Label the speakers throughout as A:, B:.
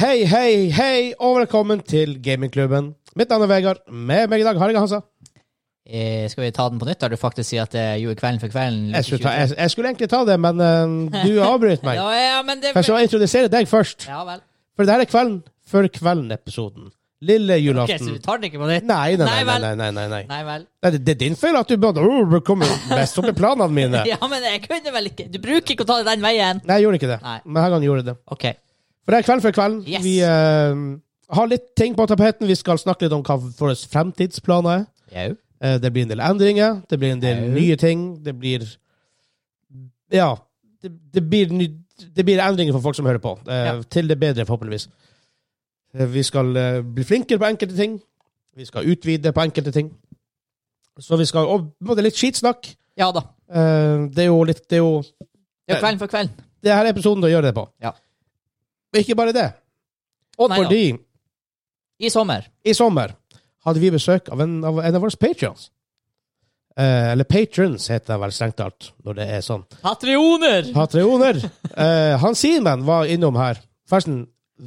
A: Hei, hei, hei, og velkommen til gamingklubben. Mitt navn er Vegard. Med meg i dag har jeg Hansa.
B: Eh, skal vi ta den på nytt, da du faktisk sier at det er jo kvelden for kvelden?
A: Jeg skulle, ta, jeg, jeg skulle egentlig ta det, men eh, du avbryter meg.
B: Ja, ja, men det...
A: For jeg skal introdusere deg først.
B: Ja vel.
A: For det her er Kvelden før kvelden-episoden. Lille
B: Ok, så
A: julaften.
B: vi tar den ikke på nytt?
A: Nei, nei, nei.
B: Nei,
A: nei,
B: vel.
A: nei, nei, nei, nei.
B: Nei vel.
A: Nei, Det, det er din feil at du bare oh, kommer mest opp i planene mine.
B: Ja, men jeg kunne vel ikke Du bruker ikke å ta det den veien.
A: Nei, jeg gjorde ikke det.
B: Nei.
A: Men her gang gjorde jeg det.
B: OK.
A: For det er Kvelden før kvelden.
B: Yes.
A: Vi eh, har litt ting på tapeten. Vi skal snakke litt om hva våre fremtidsplaner er.
B: Jau.
A: Eh, Det blir en del endringer, det blir en del
B: Au.
A: nye ting. Det blir Ja. Det, det, blir, ny, det blir endringer for folk som hører på. eh,
B: Ja.
A: Til det bedre, forhåpentligvis. Eh, Vi skal eh, bli flinkere på enkelte ting. Vi skal utvide på enkelte ting. Så vi skal Og både litt skitsnakk.
B: Ja da.
A: Eh, Det er jo litt Det er jo
B: Det er jo kvelden for kvelden.
A: Det her er episoden å gjøre det på.
B: Ja.
A: Og Ikke bare det.
B: Å nei da.
A: Fordi
B: I sommer.
A: i sommer hadde vi besøk av en av, en av våre patrions. Eh, eller patrons, heter det vel strengt talt, når det er sånn.
B: Patrioner!
A: Patrioner! Eh, han Simen var innom her. Forresten,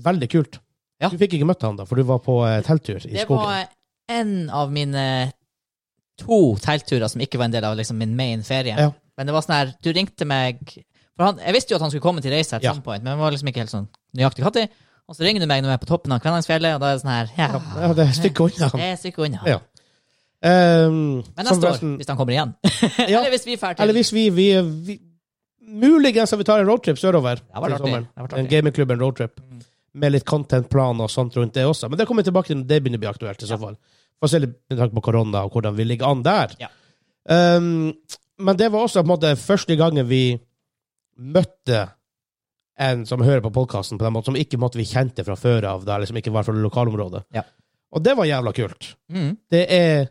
A: veldig kult.
B: Ja.
A: Du fikk ikke møtt han da, for du var på eh, telttur i
B: Det
A: skogen.
B: var en av mine to teltturer som ikke var en del av liksom min main ferie.
A: Ja.
B: Men det var sånn her, du ringte meg for han, Jeg visste jo at han skulle komme til reise at
A: Ja.
B: some point, men jeg var liksom ikke helt sånn nøyaktig når. Og så ringer du meg når jeg er på toppen av Kvænangsfjellet, og da er det sånn her ja,
A: Ja, det er et stykke unna.
B: Det er stykket unna.
A: Ja. Um,
B: Men neste år, hvis han kommer igjen.
A: Ja.
B: Eller hvis vi drar
A: Eller
B: til
A: hvis vi, vi, vi Muligens at vi tar en roadtrip sørover.
B: Det var
A: til
B: artig.
A: sommeren.
B: Det var artig. Mm.
A: En gamingklubb, en roadtrip. Med litt contentplan og sånt rundt det også. Men det kommer vi tilbake til når det begynner å bli aktuelt. i så fall. Få se litt med tanke på korona og hvordan vi ligger an der.
B: Ja.
A: Um, men det var også på en måte første gangen vi møtte en som hører på podkasten, som ikke måtte vi kjente fra før av, der liksom ikke var fra lokalområdet.
B: Ja.
A: Og det var jævla kult
B: mm,
A: det er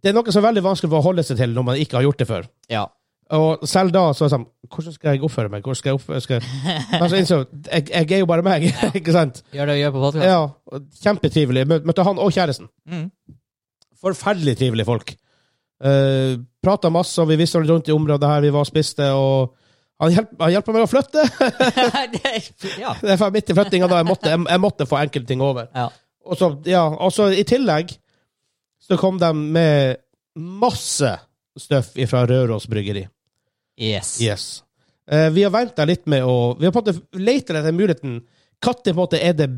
A: Det er noe som er veldig vanskelig for å holde seg til når man ikke har gjort det før.
B: Ja.
A: Og selv da så er det sånn Hvordan skal jeg oppføre meg? Hvordan skal jeg oppføre skal jeg... Men så innså jeg jeg jeg er jo bare meg, ikke sant?
B: Gjør det vi gjør på podkast.
A: Ja, og Kjempetrivelig. Mø- Møtte han og kjæresten.
B: Mm.
A: Forferdelig trivelige folk. Uh, Prata masse, og vi visste litt rundt i området her vi var og spiste, og han hjelp- han hjelper meg å flytte!
B: Det- ja.
A: Det var midt i flyttinga da jeg måtte, jeg, jeg måtte få enkelte ting over.
B: ja.
A: Og så, ja, og så i tillegg så kom de med masse støff fra Røros Bryggeri.
B: Yes.
A: Yes. Eh, vi har venta litt med å Vi har på en måte leita etter muligheten. Når på en måte er det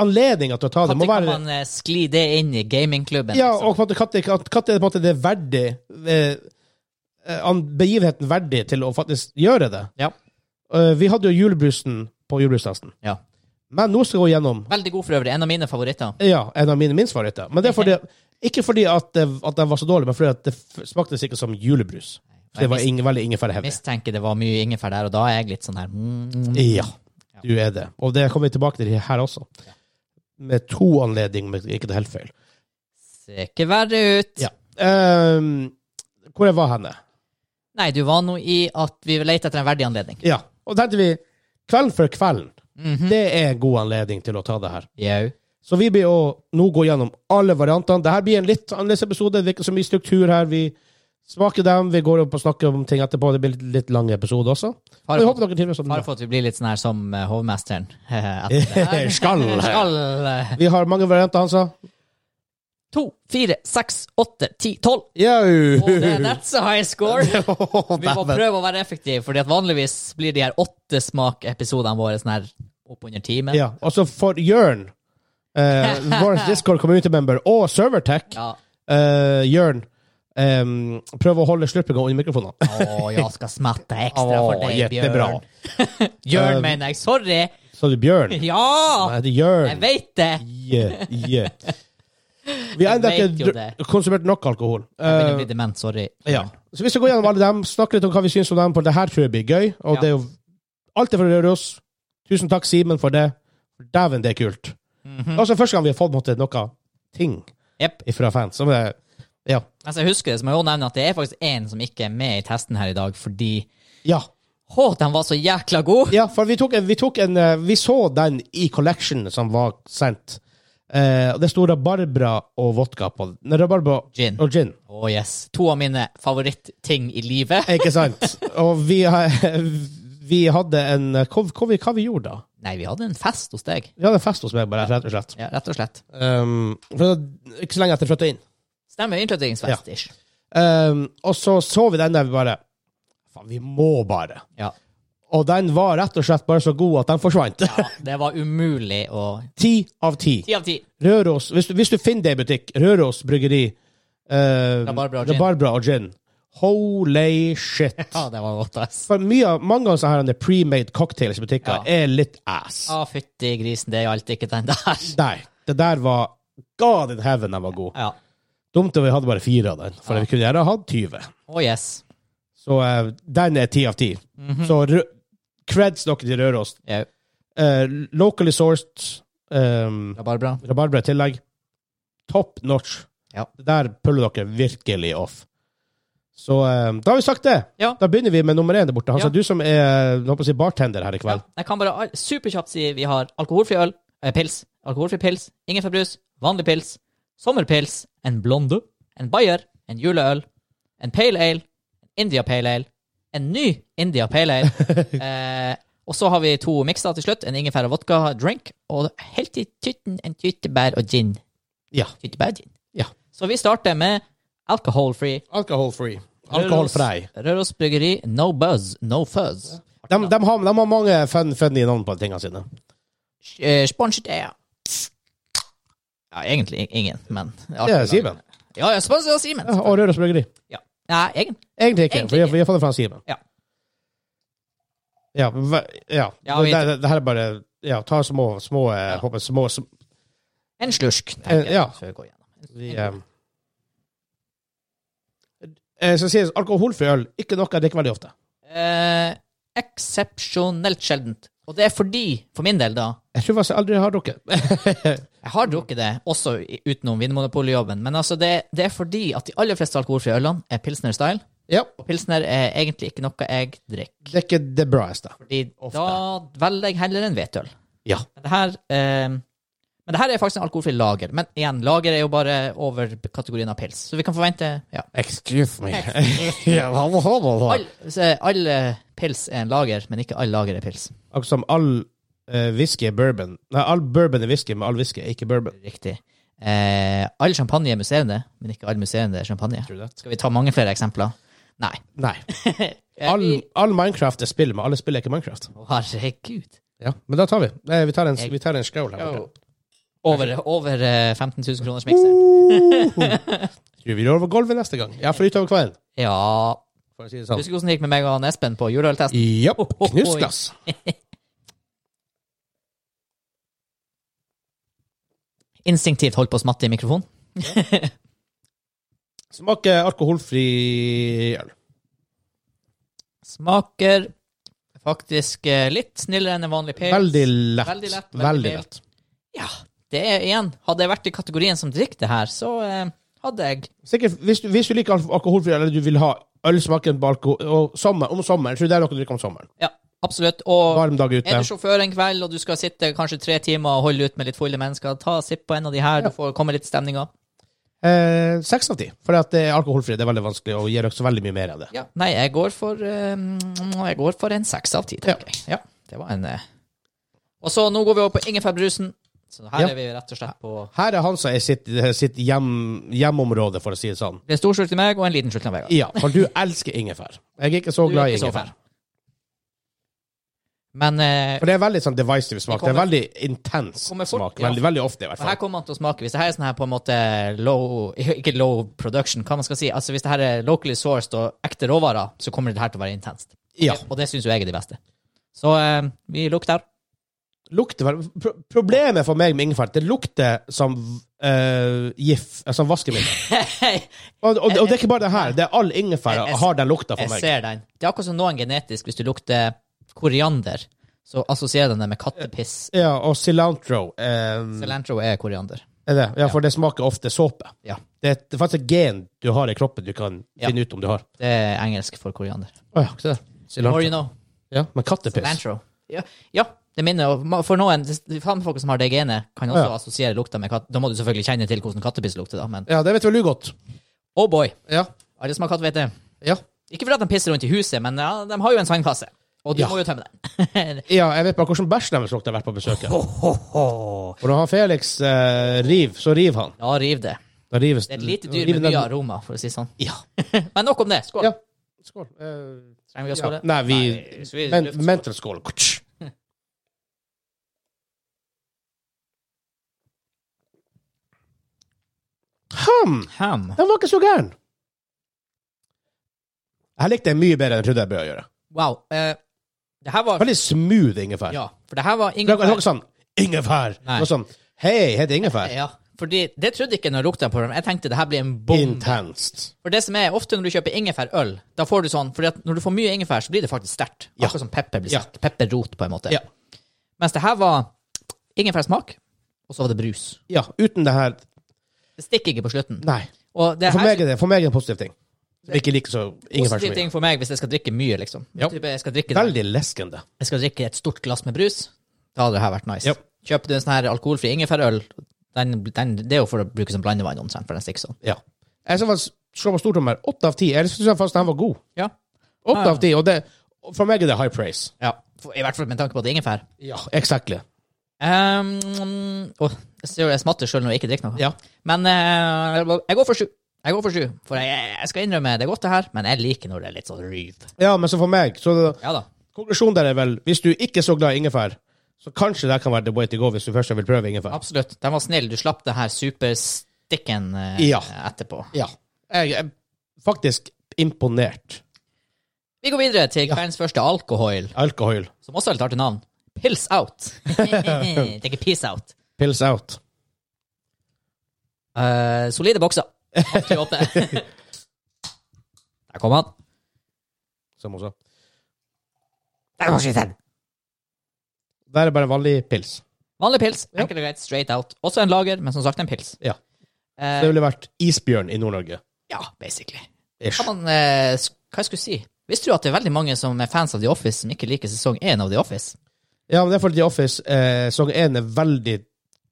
A: anledninga til å ta det?
B: Når
A: Må
B: kan
A: være,
B: man eh, skli det inn i gamingklubben?
A: ja,
B: liksom?
A: og på en måte, når er det på en måte det er verdig eh, eh, an- Begivenheten verdig til å faktisk gjøre det?
B: Ja.
A: Eh, vi hadde jo julebrusen på julebrusfesten,
B: ja.
A: men nå skal vi gå gjennom
B: Veldig god for øvrig. En av mine favoritter.
A: Ja, en av mine minst favoritter. Men det er fordi, ikke fordi at, det- at den var så dårlig, men fordi at det f- smakte ikke som julebrus. For det var ing, veldig ingefærhevig.
B: Mistenker det var mye ingefær der, og da er jeg litt sånn her mm, mm.
A: Ja, du er det. Og det kommer vi tilbake til her også. Med to anledninger, om jeg ikke det er helt feil.
B: Ser ikke verre ut.
A: Ja. Ehm, hvor jeg var henne?
B: Nei, du var nå i at vi leter etter en verdig anledning.
A: Ja. Og tenkte vi, kvelden for kvelden,
B: Mhm.
A: det er en god anledning til å ta det her.
B: Jau.
A: Så vi blir å nå gå gjennom alle variantene. Dette blir en litt annerledes episode. Det er ikke så mye struktur her. Vi smaker dem, vi går opp og snakker om ting etterpå. Det blir litt, litt lang episode også.
B: Har
A: Men jeg
B: jeg fått-
A: håper dere trives med
B: Fare
A: det.
B: for at vi blir litt sånn her som eh, hovmesteren. At
A: Skall.
B: skal eh,
A: Vi har mange varianter, altså. han sa.
B: To, fire, seks, åtte, ti, tolv.
A: Jau!
B: Og det, that's a high score. Vi må
A: Dæven.
B: prøve å være effektive, Fordi at vanligvis blir de her åtte smakepisodene våre sånn her oppunder timen.
A: Ja, og så for Jørn, eh, vår Discord community member, og Servertech,
B: Ja.
A: eh, Jørn, eh, prøv å holde slurpinga under mikrofonene.
B: Å, jeg skal smette ekstra for
A: Å,
B: deg,
A: jettebra.
B: Bjørn. Bjørn, mener jeg. Sorry.
A: Sa du Bjørn?
B: Ja!
A: Nei, det er Jørn.
B: Jeg veit det.
A: Yeah, yeah. Vi har ennå
B: Jeg vet
A: ikke
B: jo
A: dr- konsumert nok alkohol.
B: Jeg begynner å
A: Eh,
B: bli dement, sorry.
A: ja. Så vi skal gå gjennom alle dem, snakke litt om hva vi syns om dem, for det her tror jeg blir gøy. Og
B: Ja.
A: det er jo alt er fra Røros. Tusen takk, Simen, for det. Dæven, det er kult.
B: Mhm.
A: Det er også første gang vi har fått på en måte, noe ting
B: Jepp.
A: fra fans. Som er, ja.
B: Mens Altså, jeg husker det, så må jeg også nevne at det er faktisk én som ikke er med i testen her i dag, fordi
A: ja.
B: Å, den var så jækla god!
A: Ja, for vi tok, en, vi tok en eh, Vi så den i collection som var sendt. Eh, og det sto rabarbra og vodka på den. Nei, Rabarbra
B: Gin.
A: og gin.
B: Å, yes. To av mine favorittting i livet.
A: Ikke sant? Og vi har vi hadde en hva, hva, vi, hva vi gjorde da?
B: Nei, vi hadde en fest hos deg.
A: Vi hadde en fest hos meg, bare, rett og slett.
B: Ja, rett og slett.
A: Um, for det var ikke så lenge etter jeg flytta inn.
B: Stemmer. Innflyttingsfest-ish.
A: Um, og så så vi den der vi bare Faen, vi må bare.
B: Ja.
A: Og den var rett og slett bare så god at den forsvant.
B: Ja. det var umulig å
A: Ti av ti.
B: Ti av ti.
A: Røros, hvis, du- hvis du finner det i butikk, Røros bryggeri uh,
B: Rabarbra og gin.
A: og gin. Holy shit.
B: Ja, det var godt, ass.
A: For mye, av- mange av sånne her pre-made cocktails i butikker
B: Ja.
A: er litt ass.
B: Å, fytti grisen, det gjaldt ikke den der.
A: Nei, det der var God in heaven, den var god.
B: Ja.
A: Dumt at vi hadde bare fire av den, for
B: Ja.
A: vi kunne gjerne hatt 20.
B: Å, yes.
A: Så eh, den er 10 av 10.
B: Mhm.
A: Så rø- creds dere til Røros.
B: Jau.
A: Eh, locally sourced um,
B: Det var bare bra.
A: rabarbra i tillegg. Top notch.
B: Ja.
A: Det der puller dere virkelig off. Så eh, da har vi sagt det.
B: Ja.
A: Da begynner vi med nummer én der borte. Altså,
B: Ja.
A: Du som er jeg håper å si, bartender her i
B: Ja.
A: kveld.
B: Jeg kan bare al- superkjapt si vi har alkoholfri øl, eh, pils, alkoholfri pils, ingen forbrus, vanlig pils, sommerpils, en blonde, en bayer, en juleøl, en pale ale, en India pale ale, en ny India pale ale, eh, og så har vi to mikser til slutt, en ingefær og vodka drink, og helt i tytten en tyttebær og gin.
A: Ja.
B: Tyttebær og gin.
A: Ja.
B: Så vi starter med alcohol free.
A: Alcohol free. Alkoholfri.
B: Røros, Røros Bryggeri, no buzz, no fuzz.
A: De, de, har, de har mange fun, funny navn på tingene sine.
B: Eh, Sponset er Ja, egentlig ingen, men
A: Det er Simen.
B: Ja, ja, sponset av Simen.
A: Ja, Og Røros Bryggeri.
B: Ja. Nei, egentlig.
A: Egentlig ikke,
B: Egentlig
A: for vi har-
B: ikke.
A: vi har fått det fra Simen.
B: Ja.
A: Ja, hva- ja.
B: Ja, vi-
A: det, det, det her er bare Ja, ta små, små, eh, håper, små, sm-
B: En slursk. tenker jeg,
A: Eh, ja.
B: før vi går gjennom.
A: vi, eh, eh, Skal sies, alkoholfri øl ikke noe jeg drikker veldig ofte.
B: Eh, Eksepsjonelt sjeldent. Og det er fordi, for min del, da
A: Jeg tror faktisk jeg aldri har drukket.
B: Jeg har drukket det, også i- utenom Vinmonopolet-jobben, men altså det, det er fordi at de aller fleste alkoholfrie ølene er Pilsner Style,
A: ja,
B: og Pilsner er egentlig ikke noe jeg drikker.
A: det er ikke det braeste.
B: Fordi da velger jeg heller en hvetøl.
A: Ja.
B: Men det her, eh, men det her er faktisk en alkoholfri lager. Men igjen, lager er jo bare over kategorien av pils. Så vi kan forvente ja.
A: Excuse me. ja, hva var det da?
B: All, så all eh, pils er en lager, men ikke all lager er pils.
A: Akkurat som all eh, whisky er bourbon. Nei, all bourbon er whisky, men all whisky er ikke bourbon.
B: Riktig. Eh, all champagne er musserende, men ikke all musserende er champagne. Skal vi ta mange flere eksempler? Nei.
A: Nei.
B: Eh,
A: All,
B: vi-
A: all Minecraft er spill, men alle spill er ikke Minecraft.
B: Å, Herregud.
A: Ja, men da tar vi. Nei, vi tar en, vi tar en skål her. borte.
B: Over, over eh, 15 000 kroners mikser.
A: Uhuhu. Tror vi rår over gulvet neste gang. Ja, for utover kvelden.
B: Ja
A: For å si det sånn.
B: Husker hvordan det gikk med meg og han Espen på juleøltesten?
A: Japp. Knusglass.
B: Instinktivt holdt på å smatte i mikrofonen.
A: Smaker alkoholfri øl.
B: Smaker faktisk eh, litt snillere enn en vanlig pils.
A: Veldig lett.
B: Veldig lett, veldig
A: Veldig
B: mild.
A: lett.
B: Ja, det er igjen. Hadde jeg vært i kategorien som drikker det her, så eh, hadde jeg
A: Sikkert, hvis, du- hvis du liker al- alkoholfri øl, eller du vil ha ølsmaken på alkohol og sommer, om sommeren, jeg tror det er noe du drikker om sommeren.
B: Ja, absolutt. Og
A: Varm dag
B: er
A: ute.
B: du sjåfør en kveld, og du skal sitte kanskje tre timer og holde ut med litt fulle mennesker, ta sipp på en av de her, du får komme litt i stemninga.
A: Eh, Seks av ti. For at det er alkoholfri, det er veldig vanskelig, og gir dere så veldig mye mer av det.
B: Ja. Nei, jeg går for eh, Jeg går for en seks av ti, tenker jeg. Ja, det var en eh. Og så nå går vi over på ingefærbrusen. Så her
A: Ja.
B: er vi rett og slett på
A: Her er Hansa i sitt, sitt hjem, hjemområde, for å si det sånn.
B: Det er en stor slurk til meg og en liten slurk til Vegard.
A: Ja, for du elsker ingefær. Jeg er ikke så
B: Du er
A: glad i
B: ikke så
A: ingefær.
B: fan. Men eh,
A: For det er veldig sånn divisive smak.
B: Det
A: Det er
B: kommer-
A: veldig intens
B: kommer fort,
A: smak.
B: ja.
A: Veldig, veldig ofte, i hvert
B: Og her
A: fall.
B: kommer han til å smake. Hvis det her er sånn her på en måte low Ikke low production, hva man skal si. Altså Hvis det her er locally sourced og ekte råvarer, så kommer det her til å være intenst.
A: Ja.
B: Og det syns jo jeg er de beste. Så eh, vi lukter.
A: Lukter vel pro Problemet for meg med ingefær, det lukter som uh, gif, altså vaskemiddel. Og, og, og det er ikke bare det her. Det er all ingefær
B: Jeg- jeg-
A: har den lukta for
B: Jeg
A: meg.
B: ser den. Det er akkurat som noen genetisk. Hvis du lukter koriander, så assosierer den det med kattepiss.
A: Ja, og cilantro. eh,
B: Cilantro er koriander.
A: er det. Ja, for det smaker ofte såpe.
B: Ja.
A: Det er et- faktisk et gen du har i kroppen du kan
B: Ja.
A: finne ut om du har.
B: Det er engelsk for koriander.
A: Å ja, ikke det.
B: The more
A: Cilantro.
B: you know.
A: Ja, men kattepiss.
B: Cilantro. Ja, ja, det minner jo For noen det- faen, folk som har det genet, kan også
A: Ja.
B: assosiere lukta med katt. Da må du selvfølgelig kjenne til hvordan kattepiss lukter, da, men
A: Ja, det vet vel du godt.
B: Oh boy.
A: Ja.
B: Alle som har katt, vet det.
A: Ja.
B: Ikke fordi at de pisser rundt i huset, men ja, de har jo en sandkasse. Og du
A: Ja.
B: må jo tømme den.
A: Ja, jeg vet bare hvordan bæsjen deres lukter har vært på besøket.
B: ho, ho, ho.
A: Og når han Felix eh, river, så river han.
B: Ja, riv det.
A: Da rives
B: Det er et lite dyr
A: river
B: med mye
A: den-
B: aroma, for å si det sånn.
A: Ja.
B: Men nok om det. Skål.
A: Ja. Skål. Eh,
B: Trenger vi
A: ja.
B: å skåle?
A: Nei, vi
B: hvis vi
A: men,
B: luftskåler.
A: Mental skål. Kutsj. Ham!
B: Ham.
A: Den var ikke så gæren. Jeg likte den mye bedre enn jeg trodde jeg burde gjøre.
B: Wow. eh, det her var
A: Veldig smooth ingefær.
B: Ja, for det her var
A: Det var det var
B: ingefær.
A: ikke sånn ingefær. Det
B: Nei.
A: var sånn Hei, heter ingefær?
B: Ja, fordi det trodde ikke når jeg lukta på dem. Jeg tenkte det her blir en bom.
A: Intenst.
B: For det som er ofte når du kjøper ingefærøl, da får du sånn Fordi at når du får mye ingefær, så blir det faktisk sterkt.
A: Ja.
B: Akkurat som pepper blir
A: Ja.
B: sterkt. Pepperrot, på en måte.
A: Ja.
B: Mens det her var ingefærsmak, og så var det brus.
A: Ja, uten det her
B: Det stikker ikke på slutten.
A: Nei.
B: Og det
A: For
B: her
A: meg er det, for meg er det en positiv ting. Som jeg ikke liker så ingefær så
B: positiv
A: mye.
B: ting for meg hvis jeg skal drikke mye, liksom.
A: Ja.
B: Type, jeg, skal drikke,
A: Veldig leskende.
B: jeg skal drikke et stort glass med brus. Da hadde det her vært nice.
A: Ja.
B: Kjøper du en sånn her alkoholfri ingefærøl, den, den, det er jo for å bruke som blandevann omtrent, for den stikker sånn.
A: Ja. Jeg skal faktisk slå på stortrommer. Åtte av ti. Jeg syns faktisk den var god.
B: Ja.
A: Åtte
B: Ah.
A: av ti. Og det, for meg er det high praise.
B: ja. For- I hvert fall med tanke på at det er ingefær.
A: Ja, exactly.
B: Um, åh, jeg ser jo jeg smatter sjøl når jeg ikke drikker noe.
A: Ja.
B: Men eh, jeg går for sju. Jeg går for sju, for jeg, jeg skal innrømme det er godt, det her, men jeg liker når det er litt sånn ryv.
A: Ja, men så for meg, så
B: Ja da.
A: konklusjonen der er vel, hvis du ikke er så glad i ingefær, så kanskje det kan være the way to go hvis du først vil prøve ingefær.
B: Absolutt. Den var snill. Du slapp det her superstikken eh,
A: Ja.
B: etterpå.
A: Ja. Jeg er faktisk imponert.
B: Vi går videre til kveldens første alkohol,
A: Alkohol.
B: som også har et artig navn. Pils out. det er ikke peace out.
A: Pills out.
B: Eh, solide bokser. Vanskelig å åpne. Der kom han.
A: Som hun sa.
B: Der var skitten.
A: Der er bare vanlig pils.
B: Vanlig pils.
A: Ja.
B: Enkelt og greit. Straight out. Også en lager, men som sagt en pils.
A: Ja.
B: Eh,
A: Det ville vært isbjørn i Nord-Norge.
B: ja, basically.
A: Ish.
B: Kan man, eh, s- hva jeg skulle si? Visste du at det er veldig mange som er fans av The Office, som ikke liker sesong én av The Office?
A: Ja, men det er fordi The Office, eh, sesong 1 er veldig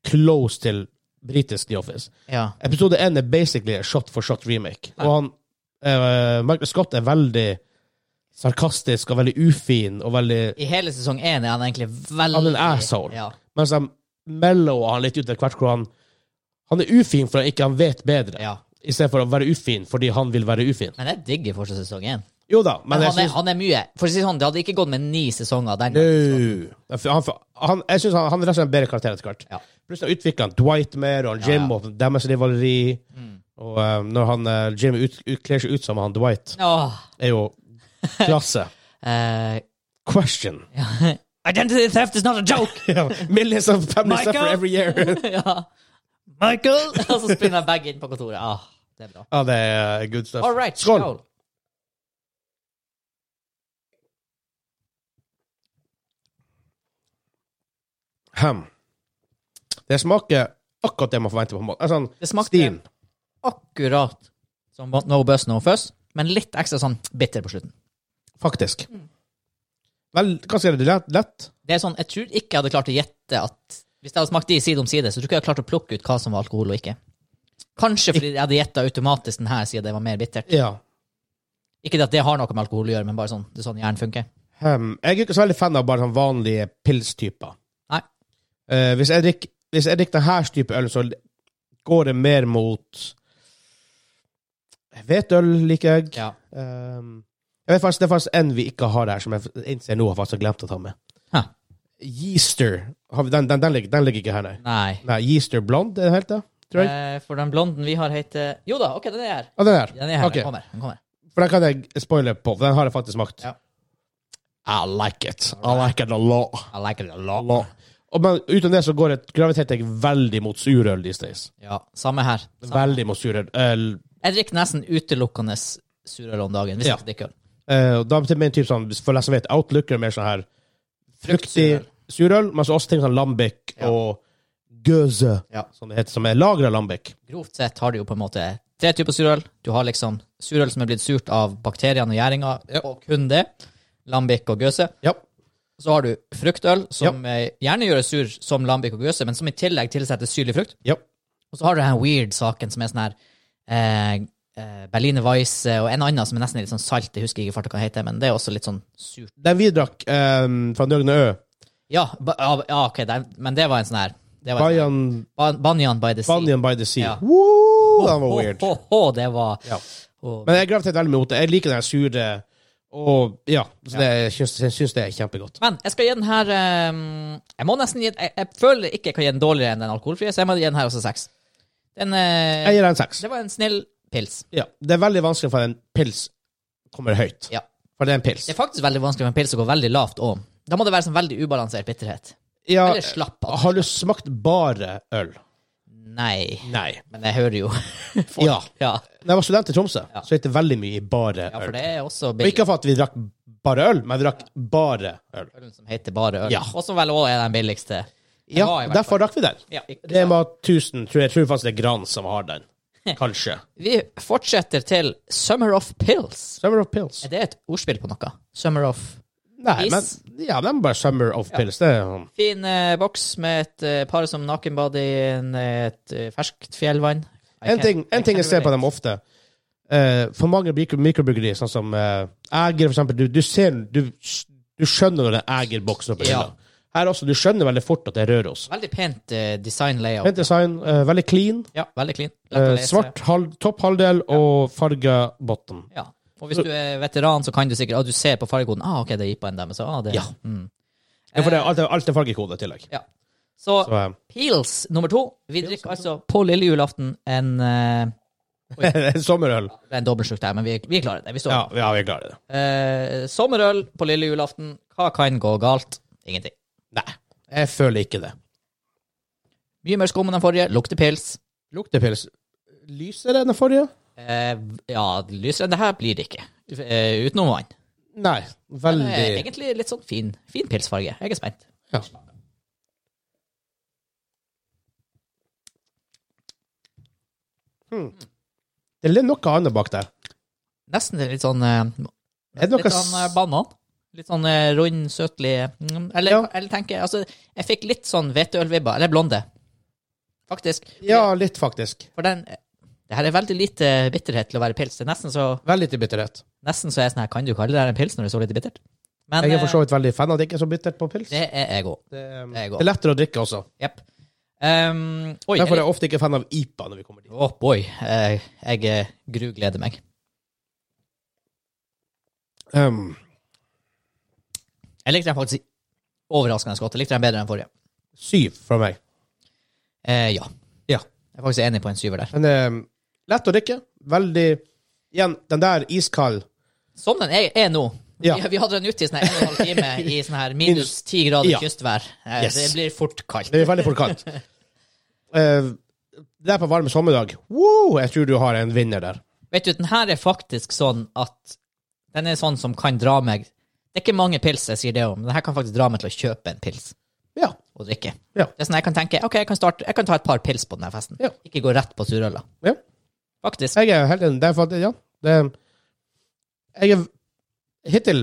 A: close til britisk The Office.
B: Ja.
A: Episode 1 er basically a shot for shot remake. Og han, eh, Michael Scott er veldig sarkastisk og veldig ufin, og veldig,
B: I hele sesong én er han egentlig veldig
A: Han er en asshole.
B: Ja.
A: mens de mellower han litt ut etter hvert hvor han, han er ufin fordi han ikke han vet bedre,
B: ja.
A: i stedet for å være ufin fordi han vil være ufin.
B: Men jeg digger fortsatt sesong én.
A: Jo da, men,
B: Men
A: jeg
B: han er,
A: synes...
B: han er mye. For å si det sånn, det hadde ikke gått med ni sesonger den gangen.
A: Au. Han, han, jeg synes han, han er rett og slett en bedre karakter etter hvert.
B: Ja.
A: Plutselig utvikler han Dwight mer, og han Jim og deres rivaleri. Og eh, når han, eh, Jim ut, ut, kler seg ut som han Dwight,
B: Åh,
A: er jo klasse.
B: eh,
A: Question.
B: Identity theft is not a joke!
A: Yeah, millions of families
B: Michael?
A: suffer every year.
B: ja. Michael! Og så spinner han bag inn på kontoret. Ah, det er bra.
A: ja, det er good stuff.
B: All right,
A: Skål.
B: skål.
A: Hem. Det smaker akkurat det man forventer på en måte. Altså, sånn
B: Det smakte
A: Steam.
B: akkurat som No Buzz No Fuss, men litt ekstra sånn bitter på slutten.
A: Faktisk.
B: Mm.
A: Vel, hva sier du? Lett? lett?
B: Det er sånn, Jeg tror ikke jeg hadde klart å gjette at Hvis jeg hadde smakt de side om side, så tror jeg ikke jeg hadde klart å plukke ut hva som var alkohol og ikke. Kanskje fordi jeg hadde gjetta automatisk den her siden det var mer bittert.
A: Ja.
B: Ikke det at det har noe med alkohol å gjøre, men bare sånn, det er sånn hjernen funker.
A: Hem. Ehm, Jeg er ikke så veldig fan av bare sånn vanlige pilstyper.
B: Nei.
A: Eh, hvis jeg drikker hvis jeg drikker denne type øl, så går det mer mot Hvetøl liker jeg.
B: Ja.
A: Ehm, jeg vet faktisk, Det er faktisk en vi ikke har her, som jeg innser nå har faktisk glemt å ta med.
B: Hæ.
A: Yeaster. Har vi- Den, den, den, ligger, den ligger ikke her, nei.
B: Nei.
A: Nei, Yeaster Blond, er det helt det? Tror jeg.
B: Eh, for den blonden vi har, heter Jo da, OK, den er her.
A: Ja, den er her.
B: Den er her.
A: Ok.
B: Den kommer. Den kommer.
A: For den kan jeg spoile på, for den har jeg faktisk smakt.
B: Ja.
A: I like it. I like it a lot.
B: I like it a
A: A
B: lot.
A: lot. Og, men uten det så går det, graviterer jeg veldig mot surøl these days.
B: Ja, samme her. Samme.
A: Veldig mot surøl. Øl,
B: Jeg drikker nesten utelukkende surøl om dagen. Hvis
A: Ja.
B: jeg skal drikke øl.
A: eh, og da blir det mer typ sånn, for deg som vet, Outlooker er mer sånn her fruktig surøl, men så også ting som lambic
B: Ja.
A: og gøse,
B: Ja.
A: som det heter, som er lagra lambic.
B: Grovt sett har du jo på en måte tre typer surøl. Du har liksom surøl som er blitt surt av bakteriene og gjæringa, og kun det. Lambic og gøse.
A: Ja.
B: Så har du fruktøl, som eh, gjerne gjøres sur som lambic og gøse, men som i tillegg tilsetter syrlig frukt.
A: Ja.
B: Og så har du den weird saken som er sånn her eh, eh, Berliner Weiss eh, og en annen som er nesten litt sånn salt. Jeg husker ikke farta hva den heter, men det er også litt sånn surt.
A: Den vi drakk ehm, fra Nøgne Ø,
B: Ja, ba, ja, ja ok, det er, men det var en sånn her. Det var en,
A: Banyan,
B: Ban- Banyan by the sea.
A: Banyan by the Sea.
B: Ja.
A: Woo, den var
B: Ho,
A: weird.
B: ho, ho, det var
A: Ja.
B: Åh.
A: Men jeg graviterte veldig mot det. Jeg liker den her sure og Ja, så
B: Ja.
A: det, jeg syns, jeg syns det er kjempegodt.
B: Men jeg skal gi den her ehm, Jeg må nesten gi den jeg, jeg føler ikke jeg kan gi den dårligere enn den alkoholfrie, så jeg må gi den her også seks. Den eh,
A: Jeg gir den seks.
B: Det var en snill pils.
A: Ja. Det er veldig vanskelig for en pils kommer høyt.
B: Ja.
A: For det er en pils.
B: Det er faktisk veldig vanskelig med en pils å gå veldig lavt om. Da må det være sånn veldig ubalansert bitterhet.
A: Ja,
B: Eller slapp av.
A: har du smakt bare øl?
B: Nei.
A: Nei.
B: Men jeg hører jo folk.
A: Ja.
B: Ja.
A: Da jeg var student i Tromsø,
B: Ja.
A: så gikk det veldig mye i bare
B: ja,
A: øl.
B: for det er også
A: Og ikke
B: billig.
A: for at vi drakk bare øl, men vi drakk bare øl.
B: Ølen som heter bare øl.
A: Ja.
B: Og som vel også er den billigste. Den
A: Ja,
B: var i hvert
A: derfor drakk vi den.
B: fall- Ja, ikke
A: Det
B: sant.
A: var 1000, tror jeg. Jeg tror faktisk det er Gran som har den. Kanskje.
B: Vi fortsetter til Summer of Pills.
A: Summer of Pills.
B: Er det et ordspill på noe? Summer of
A: Nei, men
B: Is.
A: ja, det er bare Summer of Pills. Det er sånn.
B: Fin eh, boks med et eh, par som nakenbad i en, et eh, ferskt fjellvann. I
A: En
B: can't-
A: ting,
B: I
A: en ting
B: can't
A: jeg ser på
B: relate.
A: dem ofte eh, For mange mikro- mikrobryggeri, sånn som uh, Eger, for eksempel. Du, du ser Du, du skjønner når det er Eger-boksen oppe i
B: Ja.
A: hylla. Her også. Du skjønner veldig fort at det er Røros.
B: Veldig pent eh, design layout.
A: Pent design, eh, veldig clean.
B: Ja, veldig clean. Lett å
A: eh,
B: lese.
A: svart halv, topp halvdel og farga bottom.
B: Ja. Og hvis du er veteran, så kan du sikkert ah, Du ser på fargekoden ah, OK, det er IPA-en deres. Ah, det-
A: Ja.
B: Mm.
A: Ja, for det er alt, alt er fargekode i tillegg.
B: ja. Så,
A: Så, eh,
B: Peels nummer to. Vi
A: Pils,
B: drikker altså på lille julaften en eh,
A: Sommerøl.
B: Det er en dobbeltsjuk der, men vi, vi klarer det. Vi står.
A: Ja, ja, vi klarer det.
B: Eh, sommerøl på lille julaften. Hva kan gå galt? Ingenting.
A: Nei, jeg føler ikke det.
B: Mye mer skum enn den forrige. Lukter pils.
A: Lukter pils lysere enn den forrige?
B: Eh, ja, lysere enn det her blir det ikke. Eh, utenom vann.
A: Nei,
B: Men,
A: veldig
B: eh, egentlig litt sånn fin, fin pilsfarge. Jeg er spent.
A: Ja. Hmm. Det er litt noe annet bak der.
B: Nesten litt sånn eh,
A: Er det noe
B: Litt sånn eh,
A: s-
B: banan. Litt sånn eh, rund, søtlig mm, Eller,
A: Ja.
B: eller tenker jeg Altså, jeg fikk litt sånn hveteølvibber. Eller blonde, faktisk.
A: Ja, litt faktisk.
B: For den Det her er veldig lite bitterhet til å være pils. Det er nesten så
A: Veldig til bitterhet.
B: Nesten så er jeg sånn her Kan du kalle det her en pils når det er så lite bittert? Men
A: Jeg er for
B: eh,
A: så vidt veldig fan av at det ikke er så bittert på pils. Det,
B: det er jeg òg.
A: er-
B: det er godt.
A: det er lettere å drikke også.
B: Jepp. Um, oi,
A: Derfor er
B: jeg,
A: jeg ofte ikke fan av IPA når vi kommer dit.
B: oh boy. Eh, jeg eh, grugleder meg.
A: Um,
B: Jeg likte den faktisk overraskende godt. Jeg likte den bedre enn den forrige.
A: syv fra meg.
B: Eh, ja.
A: Ja.
B: Jeg er faktisk enig på en syver der.
A: Men um, lett å drikke. Veldig Igjen, den der iskald
B: Som den er, er nå.
A: Ja.
B: Vi, vi hadde den ute i sånn her en og en halv time i sånn her minus ti grader
A: Ja.
B: kystvær. Eh,
A: Yes.
B: Det blir fort kaldt.
A: Det er veldig fort kaldt. Eh, det er på varm sommerdag. Wow, jeg tror du har en vinner der.
B: Vet du, den her er faktisk sånn at Den er sånn som kan dra meg Det er ikke mange pils jeg sier det om, men den her kan faktisk dra meg til å kjøpe en pils
A: Ja.
B: og drikke.
A: Ja.
B: Det er sånn jeg kan tenke OK, jeg kan, starte, jeg kan ta et par pils på denne festen.
A: Ja.
B: Ikke gå rett på surøla.
A: Ja.
B: Faktisk.
A: Jeg er helt enig. Det er faktisk, ja. Det, jeg er hittil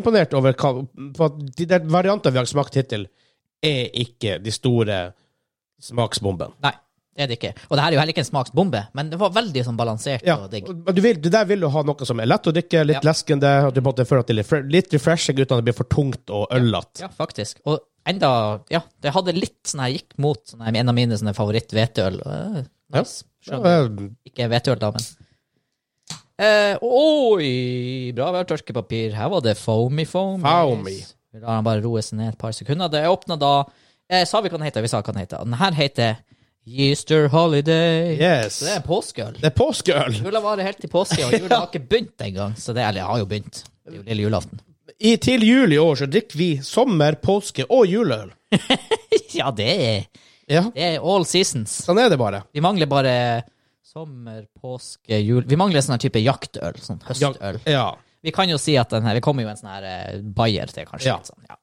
A: imponert over hva For at de der variantene vi har smakt hittil, er ikke de store smaksbombene.
B: Nei, det er det ikke. Og det her er jo heller ikke en smaksbombe, men det var veldig sånn balansert
A: Ja.
B: og digg.
A: Men Du vil, det der vil du ha noe som er lett å drikke, litt
B: Ja.
A: leskende, at du på en måte føler at det er litt fre- litt refreshing uten at det blir for tungt og ølete.
B: Ja, faktisk. Og enda Ja, det hadde litt sånn her gikk mot sånn her, en av mine sånne favoritt-hveteøl. Eh, Nice. Skjønner.
A: Eh,
B: Ikke hveteøl, da, men eh, Oi! Bra værtørkepapir. Her var det foamy foamy.
A: Foamy.
B: Vi lar han bare roe seg ned et par sekunder. Det åpna da eh, Sa vi hva den heter? Vi sa hva den heter. Den her heter Easter Holiday.
A: eh, Yes.
B: Så det er en påskeøl.
A: Det er påskeøl!
B: Jula varer helt til påske, og jula har ikke begynt engang. Så det, eller, har jo begynt. Det er jo lille julaften.
A: I, til jul i år så drikker vi sommer, påske og juleøl.
B: ja, det er,
A: Ja,
B: det er all seasons.
A: sånn er det bare.
B: Vi mangler bare sommer, påske, jul Vi mangler sånn her type jaktøl. Sånn
A: Ja,
B: høstøl.
A: ja.
B: Vi kan jo si at den her Vi kommer jo en sånn her eh, bayer til, kanskje.
A: Ja.
B: Litt sånn, ja.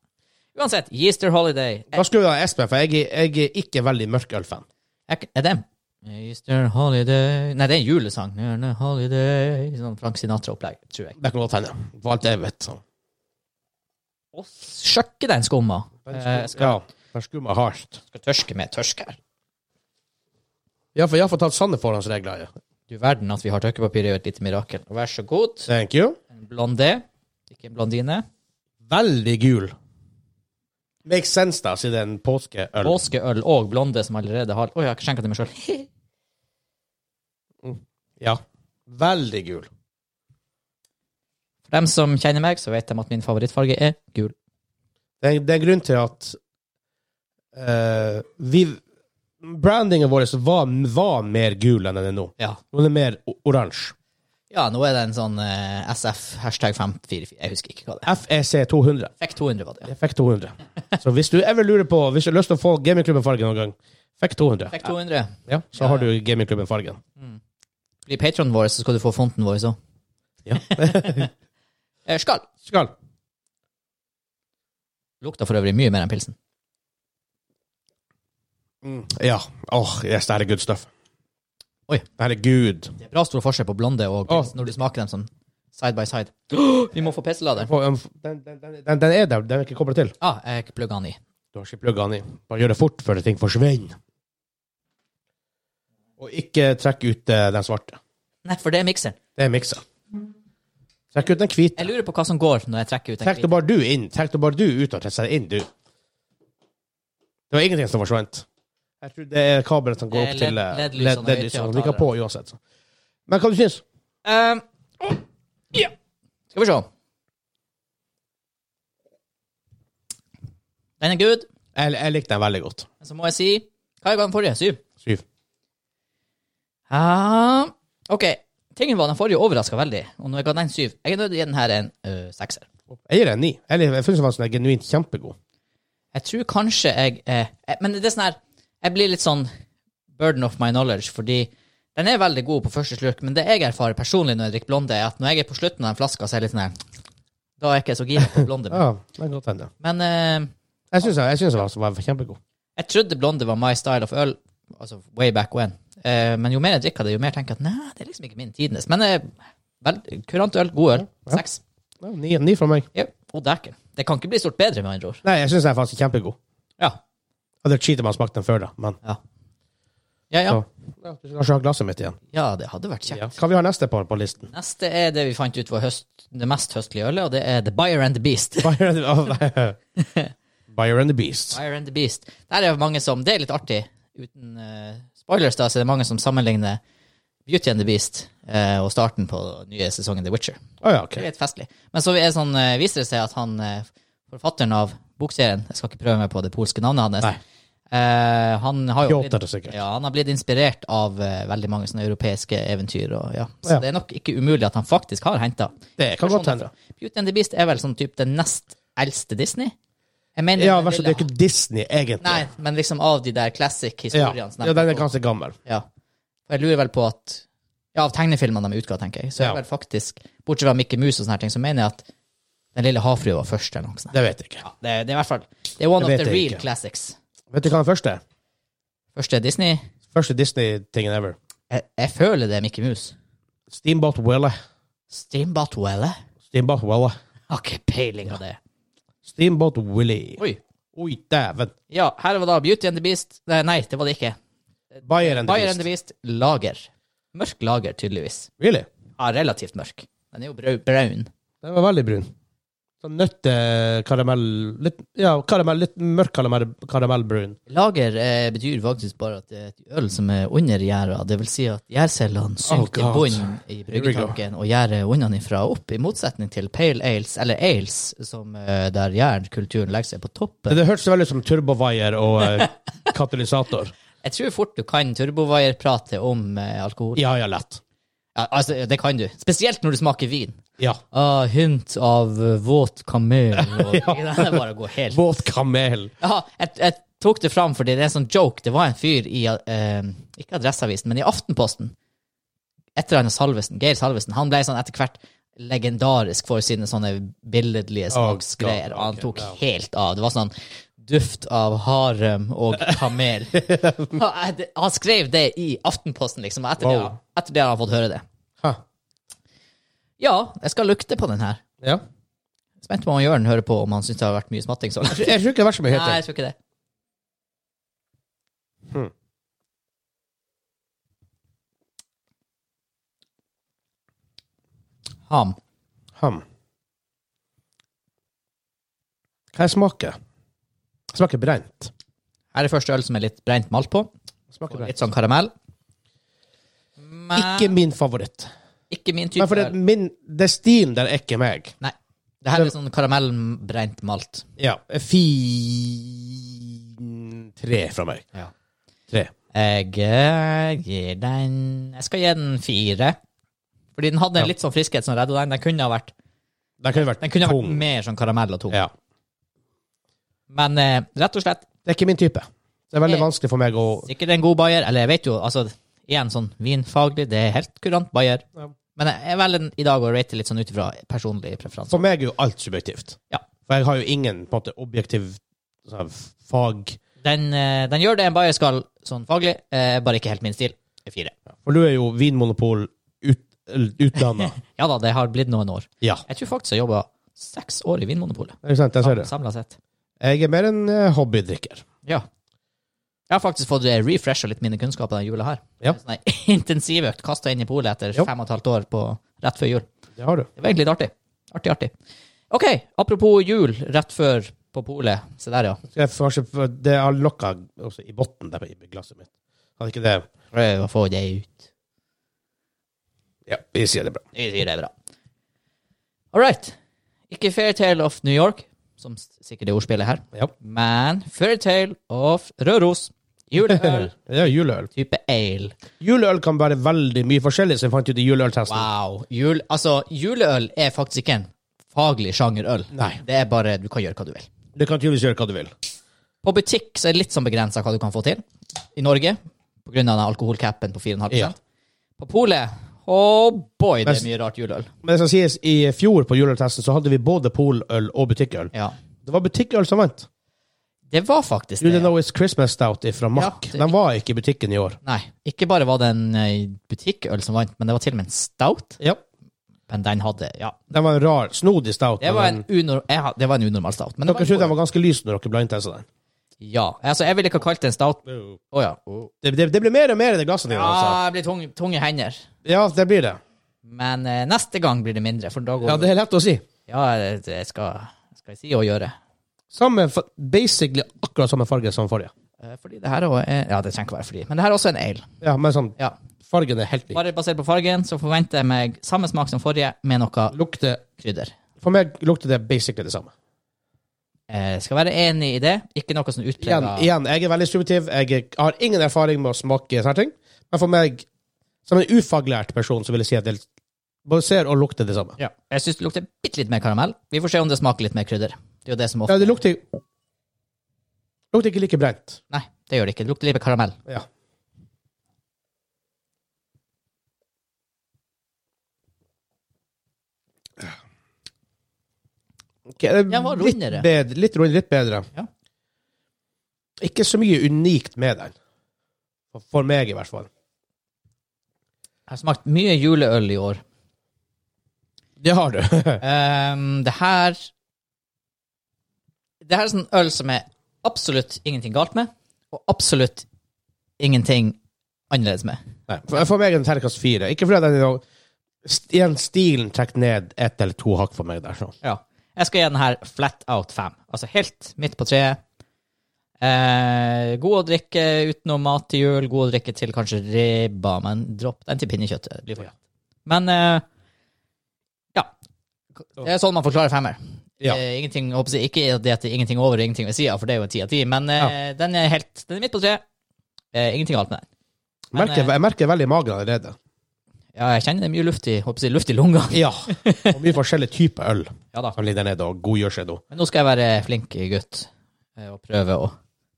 B: Uansett, Easter Holiday Er,
A: Da skulle vi ha Espen, for jeg, er- jeg er ikke veldig mørkølfan.
B: er, er det en- Easter Holiday Nei, det er en julesang. Easter Holiday Sånn Frank Sinatra-opplegg, tror jeg.
A: Det kan godt hende. For alt jeg vet. sånn.
B: Og sjokke den skumma. Eh, skal,
A: Ja, den skummer hardt.
B: skal tørske med tørsk her.
A: Ja, for jeg har fått tatt sanne forhåndsregler. ja.
B: Du verden at vi har tørkepapir, er jo et lite mirakel. Vær så god.
A: Thank you.
B: En blondé, ikke en blondine.
A: Veldig gul. Makes sense, da, siden det er en påskeøl.
B: Påskeøl og blonde som allerede har Å, jeg har ikke skjenka til meg sjøl.
A: Ja. Veldig gul.
B: For dem som kjenner meg, så vet de at min favorittfarge er gul.
A: Det er, det er en grunn til at eh, vi Brandingen vår var, var mer gul enn den er nå.
B: Ja.
A: Nå er den mer o- oransje.
B: Ja, nå er det en sånn eh, SF, hashtag 544, jeg husker ikke hva det er.
A: FEC 200.
B: Fikk 200, var det. ja.
A: Jeg fikk 200. Så hvis du ever lurer på Hvis du har lyst til å få gamingklubben-fargen noen gang, fikk 200.
B: Fikk 200.
A: Ja, så har du gamingklubben-fargen.
B: Bli patronen vår, så skal du få fonten vår Eh, òg.
A: Ja.
B: Skal.
A: Skal.
B: Lukta for øvrig mye mer enn pilsen.
A: Ja. Åh, yes, det her er good stuff.
B: Oi.
A: Det her er good.
B: Det er bra stor forskjell på blonde og pils
A: Å.
B: når du smaker dem sånn side by side. Vi må få PC-lader.
A: Få- um, Den, den, den, den er der, den er ikke koblet til.
B: Ah, jeg plugga den i.
A: Du har ikke plugga den i. Bare gjør det fort før ting forsvinner. Og ikke trekk ut eh, den svarte.
B: Nei, for det er mikseren.
A: Det er miksa. Trekk ut den hvite.
B: Jeg lurer på hva som går når jeg trekker ut en
A: Trekk det
B: kvit.
A: bare du inn. Trekk det bare du ut og trekk seg inn, du. Det var ingenting som forsvant. Jeg tror det er kabelen som går
B: Det er
A: opp til eh,
B: led-
A: led-
B: LED-lysene og
A: LED-lysene.
B: høyttalere.
A: De kan på uansett. Så. Men hva du syns du?
B: Um, ja. Skal vi se. Den er good.
A: Jeg, jeg likte den veldig godt.
B: Men så må jeg si Hva ga den forrige? Syv?
A: Syv.
B: Ah, OK. Tingen var den forrige overraska veldig, og nå ga den syv. Jeg er nødt til å gi den her en øh, sekser.
A: Jeg gir den en ni. Eller jeg syns den var sånn genuint kjempegod.
B: Jeg tror kanskje jeg eh, jeg- Men det er sånn her Jeg blir litt sånn burden of my knowledge, fordi den er veldig god på første slurk, men det jeg erfarer personlig når jeg drikker blonde, er at når jeg er på slutten av den flaska, så er jeg litt sånn her Da er jeg ikke så gira på blonde.
A: Ja, det er godt hende.
B: Men eh,
A: Jeg syns den var, var kjempegod.
B: jeg trodde blonde var my style of øl, altså way back when. Eh, men jo mer jeg drikker det, jo mer tenker jeg at nei, det er liksom ikke min tidenes. Men eh, vel, kurant øl, god øl.
A: Ja.
B: Seks.
A: Ja, ni, ni fra meg.
B: Ja. Og dæken. Det kan ikke bli stort bedre, med andre ord.
A: Nei, jeg syns den er faktisk kjempegod.
B: Ja.
A: Hadde vært kjipt om jeg smakte den før, da. Men
B: Ja, ja.
A: Så. ja, du skal kanskje ha glasset mitt igjen.
B: ja, det hadde vært kjekt.
A: Ja. Hva vi har neste på, på listen?
B: Neste er det vi fant ut var høst, det mest høstlige ølet, og det er The Buyer and the Beast.
A: Buyer and, Buyer and the Beast.
B: Buyer and the Beast. Der er det mange som, det er litt artig, uten eh, spoilers da, så er det mange som sammenligner Beauty and the Beast eh, og starten på nye sesongen The Witcher.
A: Å ja, ok.
B: Det er litt festlig. Men så er det sånn, eh, viser det seg at han, eh, forfatteren av bokserien, jeg skal ikke prøve meg på det polske navnet hans,
A: Nei.
B: eh, han har jo
A: Pjotr, sikkert.
B: ja, han har blitt inspirert av eh, veldig mange sånne europeiske eventyr, og ja. Så
A: Ja.
B: det er nok ikke umulig at han faktisk har hentet
A: Det kan godt hende.
B: sånn Beauty and the Beast er vel sånn typ den nest eldste Disney? Jeg mener,
A: Ja,
B: den
A: vær så snill, det er
B: lille-
A: ikke Disney, egentlig.
B: Nei, men liksom av de der classic
A: ja.
B: historiene. som de-
A: ja, den er ganske gammel.
B: Ja. Og Jeg lurer vel på at Ja, av tegnefilmene de utga, tenker jeg, så er
A: Ja.
B: vel faktisk Bortsett fra Mikke Mus og sånne her ting, så mener jeg at Den lille havfrua var først, eller noe sånt.
A: Det vet jeg ikke.
B: Det, det er i hvert fall Det er one
A: Det
B: of
A: vet
B: the
A: jeg
B: real
A: ikke.
B: classics.
A: Vet du hva den første er?
B: Første Disney
A: Første Disney-tingen ever.
B: jeg, jeg føler det er Mikke Mus.
A: Steamboat Willie.
B: Steamboat Welle?
A: Steamboat Willie.
B: Har ikke peiling på det.
A: Steamboat Willie.
B: Oi.
A: Oi, dæven.
B: Ja, her var da Beauty and the Beast Nei, nei det var det ikke.
A: Buyer and the
B: Bayern and the
A: Beast.
B: Beast lager. Mørk lager, tydeligvis.
A: Really?
B: Ja, relativt mørk. Den er jo brau- braun.
A: Den var veldig brun. Sånn nøttekaramell litt, Ja, karamell, litt mørk karamell, karamellbrun.
B: Lager eh, betyr faktisk bare at det er et øl som er under gjæra. Det vil si at gjærcellene
A: Oh,
B: synker til
A: God.
B: bunnen i
A: we go.
B: bryggetanken og gjæret unna opp, i motsetning til pale ales, eller ales, som, eh, der gjærkulturen legger seg på
A: Det,
B: toppen.
A: det hørtes veldig ut som turbovaier og eh, katalysator.
B: Jeg tror fort du kan turbovaier-prate om eh, alkohol.
A: Ja, ja, lett.
B: Ja, altså, det kan du. Spesielt når du smaker vin.
A: Ja.
B: Ah, hint av eh, våt kamel. Og, Det er bare å gå helt
A: Våt kamel.
B: Ja, jeg, jeg tok det fram fordi det er en sånn joke. Det var en fyr i eh, Ikke Adresseavisen, men i Aftenposten. Etter han Salvesen, Geir Salvesen. Han ble sånn etter hvert legendarisk for sine sånne billedlige
A: Oh,
B: smaksgreier.
A: God,
B: og han
A: ok,
B: tok
A: ja.
B: helt av. Det var sånn duft av harem og kamel. han, han skrev det i Aftenposten, liksom. Og etter,
A: Wow.
B: det, etter det har han fått høre det.
A: Ha.
B: Ja, jeg skal lukte på den her.
A: Ja.
B: Spent på om Jørn hører på om han syns det har vært mye smatting så langt.
A: Jeg tror ikke det var så mye
B: Nei, jeg
A: hittil.
B: tror ikke det.
A: Hmm.
B: Ham.
A: Ham. Hva jeg smaker? Jeg smaker brent.
B: Her er første øl som er litt brent malt på.
A: Jeg Smaker
B: Og
A: brent.
B: litt sånn karamell. Men
A: Ikke min favoritt.
B: ikke min
A: Men
B: type
A: fordi
B: øl.
A: min, det stilen der er ikke meg.
B: Nei. Det her er litt sånn karamellbrent malt.
A: Ja. Fin Tre fra meg.
B: Ja.
A: Tre.
B: Jeg eh, gir den Jeg skal gi den fire. Fordi den hadde en litt sånn friskhet som redda den. Den kunne ha vært,
A: Den kunne vært
B: den kunne ha vært
A: tung.
B: mer sånn karamell og tung.
A: Ja.
B: Men eh, rett og slett,
A: Det er ikke min type. Det er veldig vanskelig for meg å
B: sikkert en god bayer. Eller jeg vet jo, altså igjen sånn vinfaglig, det er helt kurant bayer.
A: Ja.
B: Men jeg velger den i dag å rate litt sånn ut ifra personlige preferanser.
A: For meg er jo alt subjektivt.
B: Ja.
A: For jeg har jo ingen på en måte, objektiv sånn, fag
B: Den, eh, den gjør det en bayer skal sånn faglig, eh, bare ikke helt min stil. Fire.
A: For du er jo Vinmonopol ut, utdanna.
B: Ja da, det har blitt noen år.
A: ja.
B: Jeg tror faktisk jeg jobba seks år i Vinmonopolet.
A: Ikke sant? Jeg ser det.
B: Samla sett.
A: Jeg er mer en eh, hobbydrikker.
B: Ja. Jeg har faktisk fått refresha litt mine kunnskaper denne jula her.
A: Ja.
B: Sånn ei intensivøkt kasta inn i polet etter
A: Jo.
B: fem og et halvt år på rett før jul.
A: Det har du.
B: Det var egentlig litt artig. Artig, artig. OK, apropos jul rett før på polet. Se der, ja.
A: Skal jeg kanskje, for det har lokka også i bunnen der i glasset mitt. Hadde ikke det
B: Prøv å få det ut.
A: Ja, vi sier det bra.
B: Vi sier det er bra. All right. Ikke Fairtale of New York, som s- sikkert er ordspillet her,
A: Ja.
B: men Fairtale of Røros. Juleøl
A: Det er juleøl.
B: type ale.
A: Juleøl kan være veldig mye forskjellig, så jeg fant ut i juleøltesten.
B: Wow. Jul, altså, juleøl er faktisk ikke en faglig sjangerøl.
A: Nei.
B: Det er bare du kan gjøre hva du vil.
A: Du kan tydeligvis gjøre hva du vil.
B: På butikk så er det litt sånn begrensa hva du kan få til i Norge, på grunn av den alkoholcapen på 4,5
A: Ja.
B: På polet Oh boy, det
A: Men s-
B: er mye rart juleøl.
A: Men det skal sies, i fjor på juleøltesten så hadde vi både poløl og butikkøl.
B: Ja.
A: Det var butikkøl som vant.
B: Det var faktisk
A: Do you
B: det.
A: know it's Christmas Stout fra Mack?
B: det-
A: Den var ikke i butikken i år.
B: Nei, ikke bare var det en eh, butikkøl som vant, men det var til og med en stout.
A: Ja.
B: Men den hadde Ja.
A: Den var en rar, snodig stout.
B: Det
A: men
B: var en,
A: den-
B: unor jeg, ha- det var en unormal stout. Men det
A: Dere
B: var
A: trodde den var ganske lys når dere blindtesta den.
B: Ja. Altså, jeg ville ikke ha kalt det en stout. Å ja.
A: Det, det, det blir mer og mer i det glasset ditt. Altså.
B: Ja, jeg blir tung, tung i hender.
A: Ja, det blir det.
B: Men eh, neste gang blir det mindre, for da går
A: Ja, det er lett å si.
B: Ja, det- det skal, skal jeg si og gjøre.
A: Samme, fa- basically akkurat samme farge som forrige.
B: Eh, Fordi det her også er Ja, det trenger ikke være fordi, men det her er også en ale.
A: Ja, men sånn,
B: Ja.
A: fargen er helt lik.
B: Bare basert på fargen, så forventer jeg meg samme smak som forrige, med noe
A: Lukter,
B: krydder.
A: for meg lukter det basically det samme.
B: Eh, skal være enig i det. Ikke noe sånn
A: Igjen,
B: utprega
A: igjen jeg er veldig subjektiv. Jeg er- har ingen erfaring med å smake sånne ting. Men for meg, som en ufaglært person, så vil jeg si at det både ser og lukter det samme.
B: ja. Jeg syns det lukter bitte litt mer karamell. Vi får se om det smaker litt mer krydder. Det er jo det som ofte
A: Ja, det lukter Lukter ikke like brent.
B: Nei, det gjør det ikke. Det lukter litt mer karamell.
A: Ja. Ok, det er
B: Den var
A: litt
B: rundere.
A: bedre, litt rundere, litt bedre.
B: Ja.
A: Ikke så mye unikt med den. For- For meg, i hvert fall.
B: Jeg har smakt mye juleøl i år.
A: Det har du.
B: Ehm, det her Det her er sånn øl som er absolutt ingenting galt med, og absolutt ingenting annerledes med.
A: Nei, for, for meg er den terningkast fire. Ikke fordi den er noe- st- igjen stilen trekker ned ett eller to hakk for meg der. Så.
B: Jeg skal gi den her flat out fem. Altså helt midt på treet. Eh, god å drikke utenom mat til jul, god å drikke til kanskje ribba, men dropp den til pinnekjøttet. Det Blir for godt. Men eh, ja. Det er sånn man forklarer femmer.
A: Ja.
B: Eh, ingenting, jeg håper å si, ikke at det at det er ingenting over og ingenting ved sida, for det er jo ti av ti, men eh, den er helt den er midt på treet. Eh, ingenting galt med den. Men,
A: Merker,
B: eh,
A: jeg merker veldig magen allerede.
B: ja, jeg kjenner det er mye luft i, håper å si, luft i lunga.
A: Ja. Og mye forskjellig type øl
B: Ja da.
A: som ligger der nede og godgjør seg nå.
B: Men nå skal jeg være flink gutt eh, og prøve å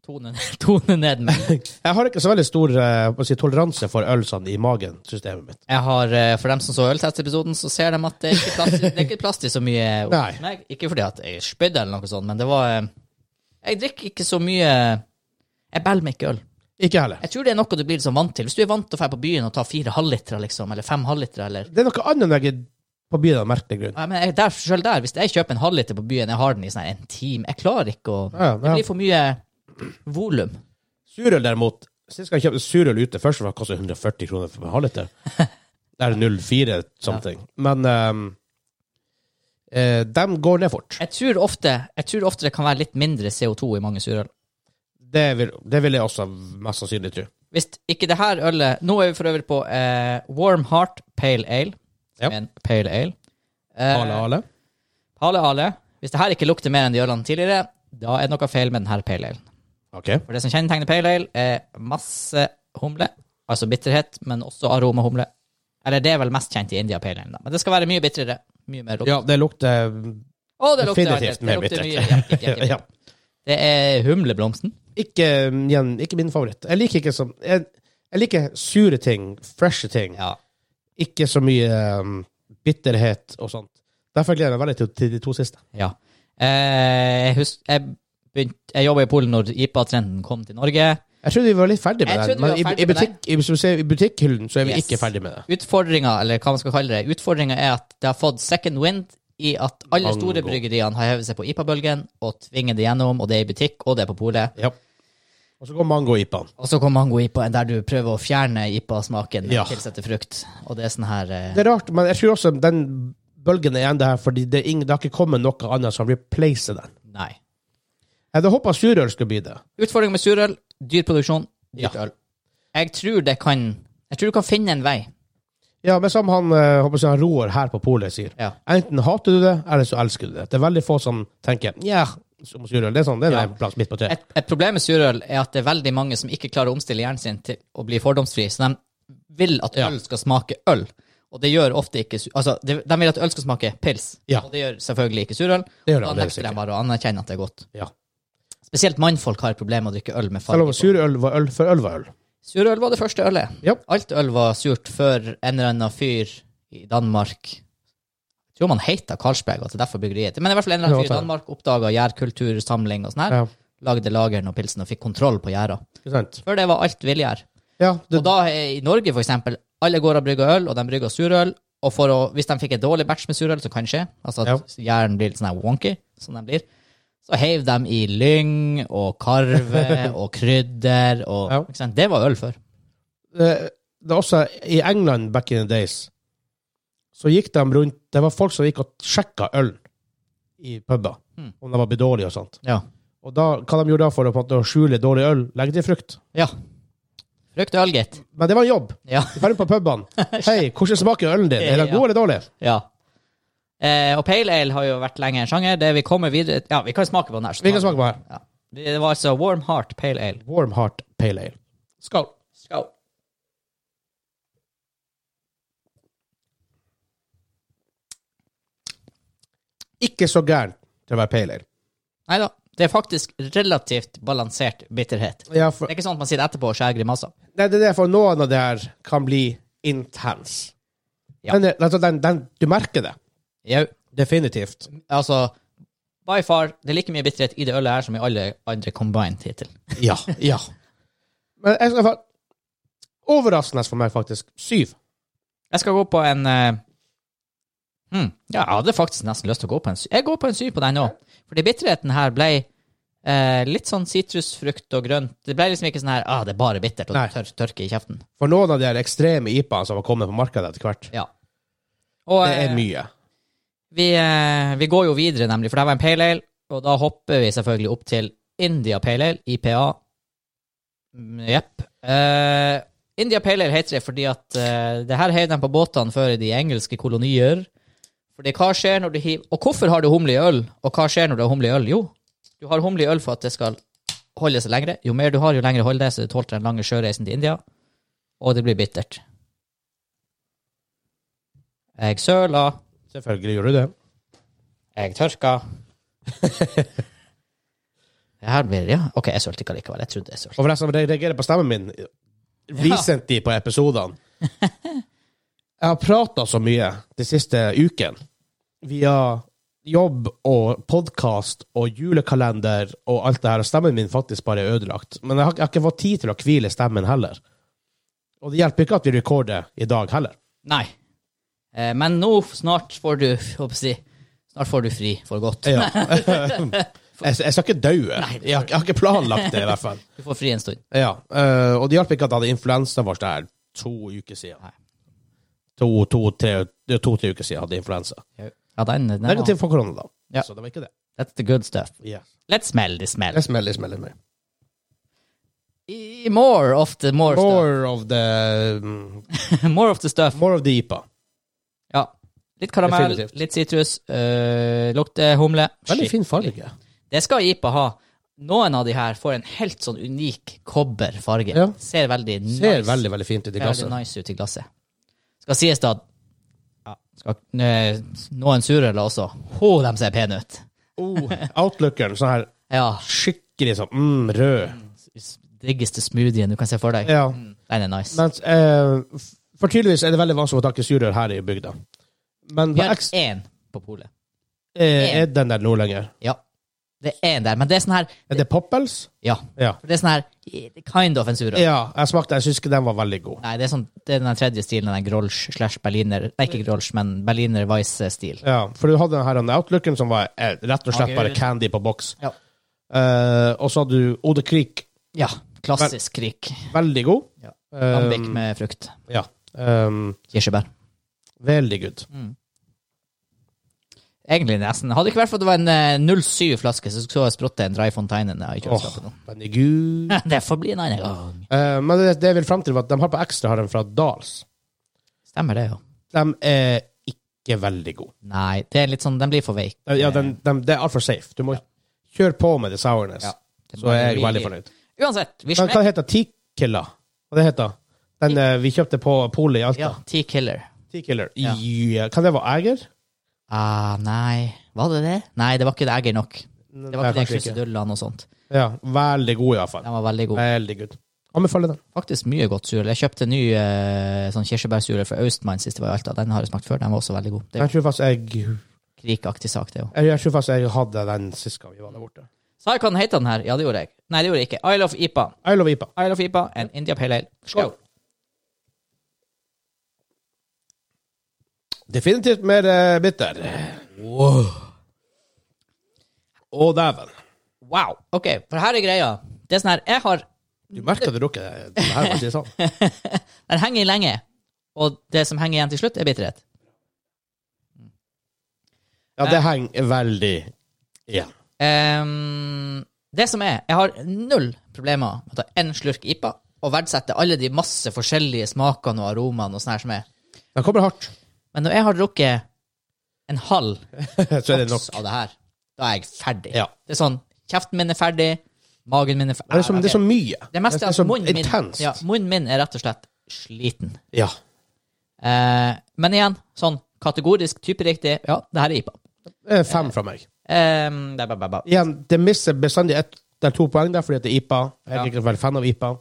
B: tone, tone ned meg.
A: Jeg har ikke så veldig stor eh, hva skal jeg si, toleranse for øl sånn i magen, systemet mitt.
B: Jeg har, eh, For dem som så øltestepisoden, så ser de at det er ikke plass, til- det er ikke plass til så mye
A: Nei.
B: hos meg. Ikke fordi at jeg spydde eller noe sånt, men det var eh, Jeg drikker ikke så mye Jeg bæller meg ikke øl.
A: Ikke heller.
B: Jeg tror det er noe du blir liksom vant til. Hvis du er vant til å dra på byen og ta fire halvlitere, liksom, eller fem halvlitere, eller
A: Det er noe annet når jeg er på byen av merkelig grunn.
B: Nei, men jeg, der, selv der, Hvis jeg kjøper en halvliter på byen, jeg har den i sånn en time Jeg klarer ikke å
A: Ja,
B: Det
A: ja.
B: blir for mye volum.
A: Surøl derimot Sist gang jeg kjøpte surøl ute, først var det kostet 140 kroner for en halvliter. Det er 04 something. Men ehm, eh, de går ned fort.
B: Jeg tror, ofte, jeg tror ofte det kan være litt mindre CO2 i mange surøl.
A: Det vil, det vil jeg også mest sannsynlig tro.
B: Hvis ikke det her ølet Nå er vi for øvrig på eh, Warm Heart Pale Ale.
A: Ja.
B: Som er en pale ale. Eh,
A: Alle, alle.
B: Hale Ale. Hvis det her ikke lukter mer enn de ølene tidligere, da er det noe feil med den her pale alen.
A: Ok.
B: For det som kjennetegner pale ale, er masse humle, altså bitterhet, men også aromahumle. Eller det er vel mest kjent i India pale ale, da. Men det skal være mye bitrere. Mye mer lukt.
A: Ja, det lukter
B: Å, det lukter
A: definitivt
B: det
A: mer
B: lukter mye.
A: bittert.
B: Jepp, jepp, jepp,
A: ja.
B: jepp. Det er humleblomsten.
A: ikke, um, igjen, ikke min favoritt. Jeg liker ikke som jeg, jeg liker sure ting, freshe ting.
B: Ja.
A: Ikke så mye um, bitterhet og sånt. Derfor gleder jeg meg veldig til, til de to siste.
B: Ja. Eh, jeg husker Jeg, begynte- jeg jobba i Polen når IPA-trenden kom til Norge.
A: Jeg trodde vi var litt ferdig
B: Jeg
A: med
B: trodde
A: den,
B: vi
A: men
B: var
A: i,
B: ferdig
A: i,
B: med
A: butikk, i, hvis du ser i butikkhyllen så er vi
B: Yes.
A: ikke ferdig med det.
B: Utfordringa, eller hva man skal kalle det, utfordringa er at det har fått second wind i at alle
A: Mango.
B: store bryggeriene har hevet seg på IPA-bølgen og tvinger det gjennom, og det er i butikk, og det er på polet.
A: Ja. Og så går mango-ipaen.
B: Og så kommer mango ipa der du prøver å fjerne IPA-smaken med
A: Ja.
B: å tilsette frukt. Og det er sånn her eh,
A: Det er rart, men jeg tror også den bølgen er igjen det her, fordi det, er ingen, det har ikke kommet noe annet som replacer den.
B: Nei.
A: Jeg hadde håpa surøl skulle bli det.
B: Utfordringa med surøl, dyr produksjon, dyrt
A: Ja.
B: øl. Jeg tror det kan Jeg tror du kan finne en vei.
A: Ja, men som han, eh, håper jeg, han Roar her på polet sier.
B: Ja.
A: Enten hater du det, eller så elsker du det. Det er veldig få som tenker ja, som surøl. Det er sånn, det er
B: Ja.
A: en plass midt på treet.
B: Et, et problem med surøl er at det er veldig mange som ikke klarer å omstille hjernen sin til å bli fordomsfri, så de vil at
A: Ja.
B: øl skal smake øl. Og det gjør ofte ikke su- Altså, de, de vil at øl skal smake pils,
A: Ja.
B: og det gjør selvfølgelig ikke surøl.
A: Det gjør det
B: Da
A: aldeles
B: nekter de
A: ikke.
B: bare å anerkjenne at det er godt.
A: Ja.
B: Spesielt mannfolk har et problem med å drikke øl med
A: Selv om
B: farge. på.
A: surøl var øl før øl var øl.
B: Surøl var det første ølet.
A: Ja.
B: Alt øl var surt før en eller annen fyr i Danmark jeg tror man heter Carlsberg, og det er derfor bryggeriet Men i hvert fall en eller annen
A: Det
B: fyr
A: var
B: i
A: det.
B: Danmark oppdaga gjærkultursamling og sånn her.
A: altså. Ja,
B: Lagde lageren og pilsen og fikk kontroll på gjæra.
A: ikke sant?
B: Før det var alt villgjær.
A: Ja, det,
B: Og da eh, i Norge, for eksempel, alle går og brygger øl, og de brygger surøl. Og for å, hvis de fikk en dårlig batch med surøl, som kan skje, altså at gjæren blir litt sånn her wonky, som de blir, så heiv de i lyng og karve og krydder og
A: Ja.
B: ikke sant? Det var øl før.
A: det, det er også i England back in the days, så gikk de rundt Det var folk som gikk og sjekka øl i puber,
B: Hmm.
A: om de var blitt dårlige og sånt.
B: Ja.
A: Og da, hva de gjorde da for å på en måte skjule dårlig øl? Legge til frukt.
B: ja. Frukt og øl, gitt.
A: Men det var en jobb.
B: Ja.
A: De drar på pubene. Hei, hvordan smaker ølen din? Er den god eller dårlig?
B: ja. Eh, og pale ale har jo vært lenge en sjanger. Det vi kommer videre Ja, vi kan smake på den her. så
A: Vi kan
B: tar
A: smake på her.
B: Ja. Det var altså Warm Heart Pale Ale.
A: Warm Heart Pale Ale. Skål.
B: Skål.
A: Ikke så gærent til å være pale ale.
B: Nei da. Det er faktisk relativt balansert bitterhet.
A: Ja, for,
B: Det er ikke sånn at man sitter etterpå og skjærer grimaser.
A: nei, det er derfor noen av det her kan bli intens.
B: Ja.
A: Den, er- altså, den, den, du merker det.
B: Jau.
A: Definitivt.
B: Altså, by far, det er like mye bitterhet i det ølet her som i alle andre combined hittil.
A: Ja. ja. Men jeg skal fa- Overraskende for meg, faktisk. Syv.
B: Jeg skal gå på en eh, hmm, Ja, jeg hadde faktisk nesten lyst til å gå på en syv. Jeg går på en syv på den òg. Fordi bitterheten her ble eh, litt sånn sitrusfrukt og grønt. Det ble liksom ikke sånn her ah, det er bare bittert og
A: Nei.
B: tør, tørke i kjeften.
A: For noen av de her ekstreme IPA-ene som har kommet på markedet etter hvert,
B: Ja. Og,
A: det er
B: eh,
A: mye.
B: Vi, eh, vi går jo videre, nemlig, for det her var en pale ale, og da hopper vi selvfølgelig opp til India Pale Ale, IPA. Mm, Jepp. Eh, India Pale Ale heter det fordi at eh, det her heiv de på båtene før i de engelske kolonier. Fordi hva skjer når du hiver Og hvorfor har du humle i øl, og hva skjer når du har humle i øl? Jo, du har humle i øl for at det skal holde seg lengre. Jo mer du har, jo lengre holder det, så det tålte den lange sjøreisen til India, og det blir bittert. Jeg søla.
A: Selvfølgelig gjør du det.
B: Jeg tørka. det her blir Ja, OK, jeg sølte ikke allikevel. Jeg trodde jeg sølte.
A: Og for deg som reagerer på stemmen min, recent de på episodene. Jeg har prata så mye de siste uken via jobb og podkast og julekalender og alt det her, og stemmen min faktisk bare er ødelagt. Men jeg har, jeg har ikke fått tid til å hvile stemmen heller. Og det hjelper ikke at vi rekorder i dag heller.
B: Nei. Eh, men nå snart får du håper jeg, å si, Snart får du fri for godt.
A: Ja. Jeg, jeg skal ikke dø. Jeg, har- jeg har ikke planlagt det, i hvert fall.
B: Du får fri en stund.
A: Ja, øh, og det hjalp ikke at jeg hadde influensa vår der to uker siden.
B: Nei.
A: To-tre to, tre- det er to, tre uker siden jeg hadde influensa.
B: Ja. Ja, den, den var,
A: Negativ for korona, da.
B: Ja.
A: Så det var ikke det.
B: that's the good stuff.
A: Yeah.
B: Let's smell the smell.
A: Det smeller, smeller mer.
B: I- More of the more,
A: More of the mm,
B: stuff. more of the stuff.
A: More of the IPA.
B: Ja. Litt karamell,
A: Definitivt.
B: litt sitrus, øh, lukter humle.
A: Veldig
B: Shit.
A: fin farge.
B: Det skal IPA ha. Noen av de her får en helt sånn unik kobberfarge.
A: Ja.
B: Ser veldig nice,
A: Ser veldig, veldig fint ut i
B: ser veldig
A: glasset.
B: nice ut i glasset. Skal sies da at- skal, eh, noen surøler også. Ho, de ser pene ut.
A: Oh, Outlookeren, sånn her
B: Ja.
A: skikkelig sånn mm, rød.
B: s- Diggeste smoothien du kan se for deg.
A: Ja.
B: Den er nice.
A: Mens, eh, f- for tydeligvis er det veldig vanskelig å takke surrør her i bygda. Men
B: Vi
A: på
B: har
A: X
B: én på polet.
A: eh, er den der nå lenger.
B: Ja. Det er én der. Men det er sånn her
A: Er det Poppels?
B: Ja.
A: Ja.
B: For det er sånn her eh, kind of en surøl.
A: ja jeg smakte, jeg syns ikke den var veldig god.
B: Nei, det er, sånn, det er den her tredje stilen, den Grolsch slash Berliner Nei, ikke Grolsch, men Berliner Weisse-stil.
A: Ja, For du hadde den her den Outlookeren som var eh, rett og slett
B: Agurk.
A: bare candy på boks.
B: Ja.
A: Eh, og så hadde du Ode Creek,
B: Ja. Klassisk krik.
A: veldig god.
B: Ja.
A: Eh,
B: Lambic med frukt.
A: ja. Eh,
B: Kirsebær.
A: veldig good.
B: Mm, Egentlig nesten. Hadde ikke vært for at det var en eh, 07-flaske, så skulle jeg sprutte en Dry Fontaine i
A: Åh,
B: kjøleskapet. nå.
A: veldig god.
B: Det får bli en annen gang.
A: Eh, men det, det jeg vil frem til, var at de har på ekstra har de fra Dals.
B: Stemmer det, jo.
A: De er ikke veldig gode.
B: Nei, det er litt sånn, den blir for veik.
A: Eh, Ja, de, de, det er altfor safe. Du må kjøre på med det sourness.
B: Ja. Det
A: Så er jeg
B: blir-
A: veldig fornøyd.
B: Uansett, vi
A: Men hva
B: smekker.
A: heter Tikilla? Hva det heter den eh, vi kjøpte på polet i Alta?
B: Ja, T-Killer.
A: Tikiller.
B: Ja.
A: Ja. Kan det være Eger?
B: Ah, nei. Var det det? Nei, det var ikke det egger nok. Det var
A: Nei,
B: ikke det
A: kanskje ikke.
B: krusedullene og sånt.
A: Ja, veldig god iallfall.
B: Den var veldig god.
A: Veldig god. Anbefaler den.
B: Faktisk mye godt surøl. Jeg kjøpte ny eh, sånn kirsebærsure fra Austmann sist jeg var i Alta. Den har jeg smakt før. Den var også veldig god. Det er
A: Jeg tror faktisk jeg,
B: krikaktig sak, det jo.
A: jeg, jeg, tror faktisk jeg hadde den sist gang vi var der borte.
B: Sa jeg hva den heter, den her? Ja, det gjorde jeg. Nei, det gjorde jeg ikke. Isle of Ipa.
A: I love IPA.
B: Isle of Ipa and India Pale Ale. Skål.
A: Definitivt mer eh, bitter.
B: Wow.
A: Å, dæven.
B: wow. Ok, for her er greia. Det er sånn her, jeg har
A: Du merker at du drukker det- det her, for å si det sånn.
B: Den henger i lenge, og det som henger igjen til slutt, er bitterhet.
A: Ja, det henger veldig igjen.
B: Ehm, det som er, jeg har null problemer med å ta én slurk IPA og verdsette alle de masse forskjellige smakene og aromaene og sånn her som er.
A: Den kommer hardt.
B: Men når jeg har drukket en halv
A: Så er det nok.
B: boks av det her, da er jeg ferdig.
A: Ja.
B: Det er sånn, kjeften min er ferdig, magen min er ferdig.
A: Det er, så, det er så mye.
B: det meste
A: er
B: av
A: så
B: munnen min,
A: intenst.
B: ja, munnen min er rett og slett sliten.
A: Ja.
B: Eh, men igjen, sånn kategorisk typeriktig, ja, det her er IPA.
A: Det er fem fra meg.
B: Ehm, da, ba, ba, ba.
A: Igjen, det misser bestandig ett eller to poeng der fordi at det er IPA. Jeg er ikke veldig fan av IPA.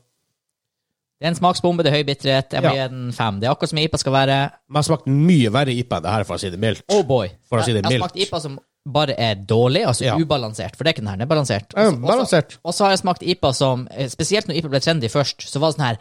B: Det er en smaksbombe, det er høy bitterhet, jeg må
A: Ja.
B: gi den fem. Det er akkurat som IPA skal være.
A: Men jeg har smakt mye verre IPA enn det her, for å si det mildt.
B: Oh boy.
A: For å si det
B: jeg, jeg har
A: mildt.
B: smakt IPA som bare er dårlig, altså
A: Ja.
B: ubalansert, for det er ikke den her, den er balansert. Altså,
A: Ja,
B: Også-
A: balansert.
B: også- Og så har jeg smakt IPA som, eh, spesielt når IPA ble trendy først, så var det sånn her,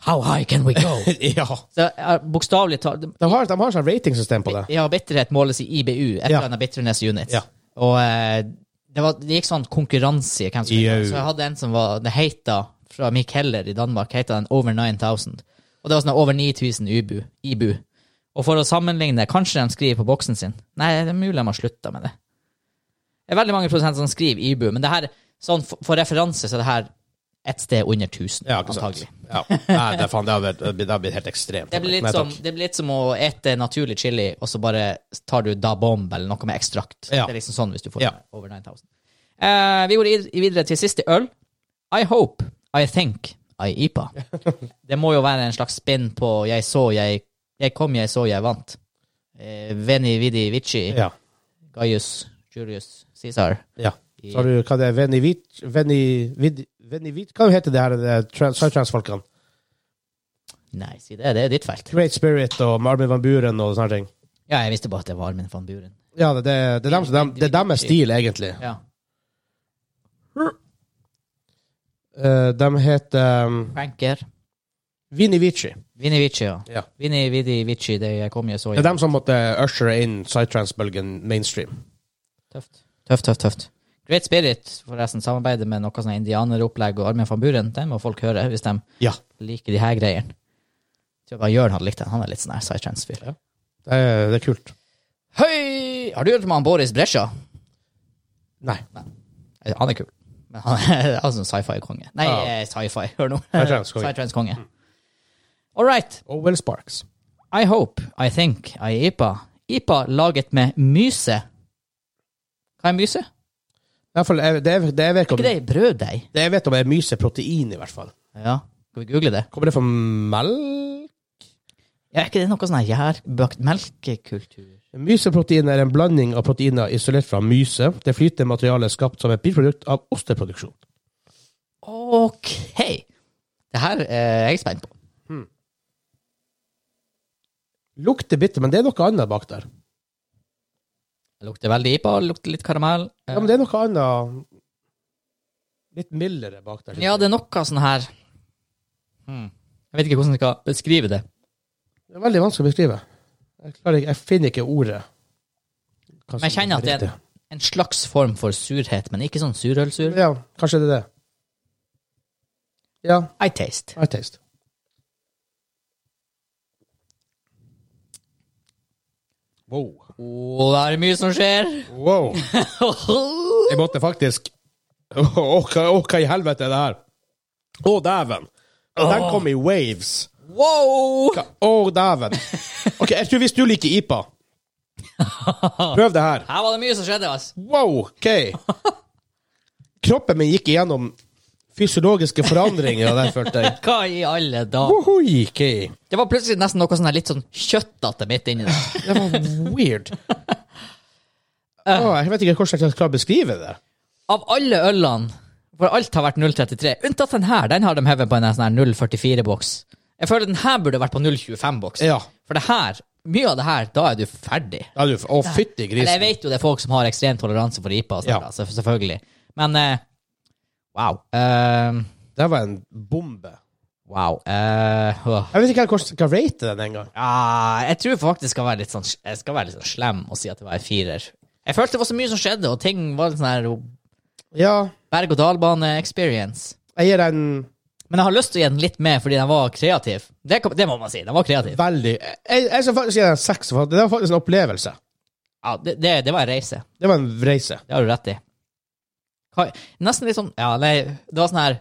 B: how high can we go?
A: ja.
B: så jeg, bokstavlig talt,
A: De har, de har sånn ratingsystem på det.
B: ja, bitterhet måles i IBU, et
A: Ja.
B: eller annet bitterness unit.
A: Ja.
B: Og eh, det, var, det gikk sånn konkurranse i hvem som
A: Jau.
B: ville. Så jeg hadde en som var, det heita, fra Mick Heller i Danmark, heita den Over 9000. Og det var sånn over 9000 IBU. IBU. Og for å sammenligne, kanskje de skriver på boksen sin. Nei, det er mulig de har slutta med det. Det er veldig mange prosenter som skriver IBU, men det her, sånn for, for referanse så er det her et sted under 1000,
A: Ja, ikke sant.
B: antagelig.
A: Ja. Nei, det, er faen, det, har blitt, det har blitt helt ekstremt.
B: Det
A: Nei,
B: blir, litt sånn- som,
A: takk.
B: det blir litt som å ete naturlig chili, og så bare tar du da bomb eller noe med ekstrakt.
A: Ja.
B: Det er liksom sånn hvis du får
A: Ja.
B: over 9000. Eh, vi går id- videre til siste øl. I hope, I think, I IPA. Det må jo være en slags spinn på jeg så, jeg, jeg kom, jeg så, jeg vant. Eh, Veni, vidi, vici,
A: Ja.
B: Gaius, Julius, Cæsar.
A: ja. Så har du hva det er Venivit Veni, Vid- Venivit Hva heter det her, det trans- sidetrans-folkene?
B: Nei, si det. Det er ditt felt.
A: Great Spirit og Marvin Van Buren og sånne ting.
B: Ja, jeg visste bare at det var Armin van Buren.
A: Ja, det, det, det, er dem, som- dem- det er deres stil, egentlig.
B: Ja.
A: Eh, de heter um,
B: Franker.
A: Vini Vici.
B: Vini Vici, ja.
A: Ja.
B: Vini, vidi, vici, det jeg kom, jeg så,
A: Det
B: jeg
A: er dem som måtte ushere inn sidetrans-bølgen mainstream.
B: Tøft. Tøft, tøft, tøft. Great Spirit, forresten, samarbeider med noe sånn indianeropplegg og Armin van Buren. Den må folk høre hvis de
A: Ja.
B: liker de her greiene. Tror jeg bare Jørn hadde likt den. Han er litt sånn her sidetrans-fyr.
A: Det er, det er kult.
B: Høy! Har du hørt om han Boris Bresja?
A: Nei.
B: Eh, Han er kul. Men han er altså en sci-fi-konge. Nei,
A: Ja.
B: eh, sci-fi, hør nå.
A: Sci-trans-konge.
B: Sci-trans-konge. All right.
A: Owen Sparks.
B: I hope, I think, I IPA. IPA laget med myse. Hva er myse?
A: I hvert fall, jeg- det, jeg- det jeg vet om,
B: Ikke det brøddeig?
A: det jeg vet om er myseprotein, i hvert fall.
B: Ja. Skal vi google det?
A: Kommer det fra melk?
B: Ja, er ikke det noe sånn her gjærbakt melkekultur?
A: Myseprotein er en blanding av proteiner isolert fra myse. Det flytende materialet er skapt som et biprodukt av osteproduksjon.
B: Ok. Det her eh, er jeg spent på.
A: Lukter bitter, men det er noe annet bak der.
B: Det lukter veldig IPA, det lukter litt karamell. Eh,
A: Ja, men det er noe annet Litt mildere bak der.
B: Ja, det er noe sånn her hmm. Jeg vet ikke hvordan jeg skal beskrive det.
A: Det er veldig vanskelig å beskrive. Jeg, klarer, ikke- jeg finner ikke ordet. Hva som
B: Men jeg kjenner at det er
A: riktig.
B: en, en slags form for surhet, men ikke sånn surølsur.
A: Ja, kanskje det er det. Ja,
B: I taste.
A: I taste. Wow.
B: Å, det er mye som skjer.
A: Wow. Jeg måtte faktisk Å, å, hva- å, hva i helvete er det her? Å, dæven. Den kom i waves.
B: wow!
A: Hva- Å, dæven. OK, jeg tror hvis du liker IPA Prøv det her.
B: Her var det mye som skjedde, altså.
A: Wow, OK. Kroppen min gikk igjennom fysiologiske forandringer, og det følte jeg.
B: Hva i alle dager?
A: Ohoi, ok.
B: Det var plutselig nesten noe sånn her litt sånn kjøttete midt inni der.
A: Det var weird. Å, jeg vet ikke hvordan jeg skal beskrive det.
B: Av alle ølene, for alt har vært 0,33, unntatt den her, den har de hevet på en sånn her 0,44-boks. Jeg føler den her burde vært på 0,25-boks.
A: Ja.
B: For det her, mye av det her, da er du ferdig.
A: ja du, å, fytti
B: Eller jeg
A: grisen.
B: vet jo det er folk som har ekstrem toleranse for IPA, og sånt,
A: Ja.
B: altså, selvfølgelig. Men eh, wow. Eh,
A: Det var en bombe.
B: wow. Eh, åh.
A: Jeg vet ikke hvordan jeg skal rate den engang.
B: Ja, jeg tror faktisk jeg skal være litt sånn, jeg skal være litt sånn slem og si at det var en firer. Jeg følte det var så mye som skjedde, og ting var litt sånn her
A: Ja,
B: berg-og-dal-bane-experience.
A: jeg gir den
B: Men jeg har lyst til å gi den litt mer, fordi den var kreativ. Det, kan- det må man si. Den var kreativ.
A: veldig Jeg, jeg skal faktisk gi den en seks. for Det var faktisk en opplevelse.
B: Ja, det, det, det var en reise.
A: Det var en reise.
B: Det har du rett i. Hva- Nesten litt sånn Ja, nei, det var sånn her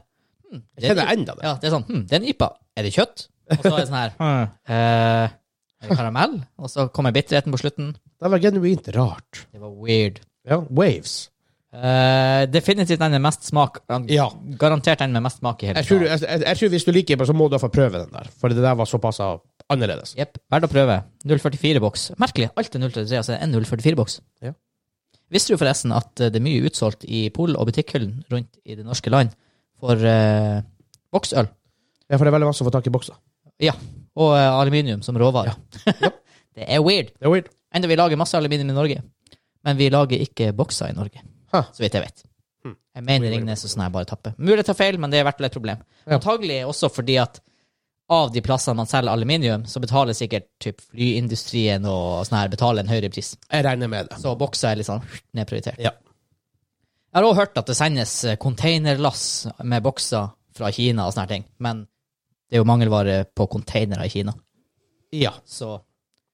B: hmm, det,
A: Jeg
B: er en-
A: kjenner enda det.
B: ja, det er sånn hmm, Det er en ypa. Er det kjøtt? Og så er det sånn her eh, Er det karamell? Og så kommer bitterheten på slutten.
A: Det var genuint rart.
B: Det var weird.
A: Ja, waves.
B: Eh, definitivt den med mest smak.
A: Ja.
B: Garantert den med mest smak i hele
A: Jeg tror,
B: tiden.
A: jeg, jeg, jeg tror hvis du liker den, så må du iallfall prøve den der. For det der var såpass annerledes.
B: Jepp. Verdt å prøve. 044-boks. Merkelig. Alt er 033, altså en 044-boks.
A: Ja.
B: Visste du forresten at eh, det er mye utsolgt i pol- og butikkhyllen rundt i det norske land for eh, boksøl?
A: Ja, for det er veldig vanskelig å få tak i bokser.
B: Ja. Og eh, aluminium som råvare. det er weird.
A: Det er weird.
B: Enda vi lager masse aluminium i Norge, men vi lager ikke bokser i Norge.
A: Huh.
B: Så vidt jeg vet.
A: Hmm.
B: Jeg mener Ringnes og sånn her bare tapper. Mulig jeg tar feil, men det er i hvert fall et problem.
A: Ja.
B: Antagelig også fordi at av de plassene man selger aluminium, så betaler sikkert typ flyindustrien og sånn her betaler en høyere pris.
A: Jeg regner med det.
B: Så bokser er litt sånn nedprioritert.
A: Ja.
B: Jeg har også hørt at det sendes containerlass med bokser fra Kina og sånne her ting, men det er jo mangelvare på containere i Kina.
A: Ja.
B: Så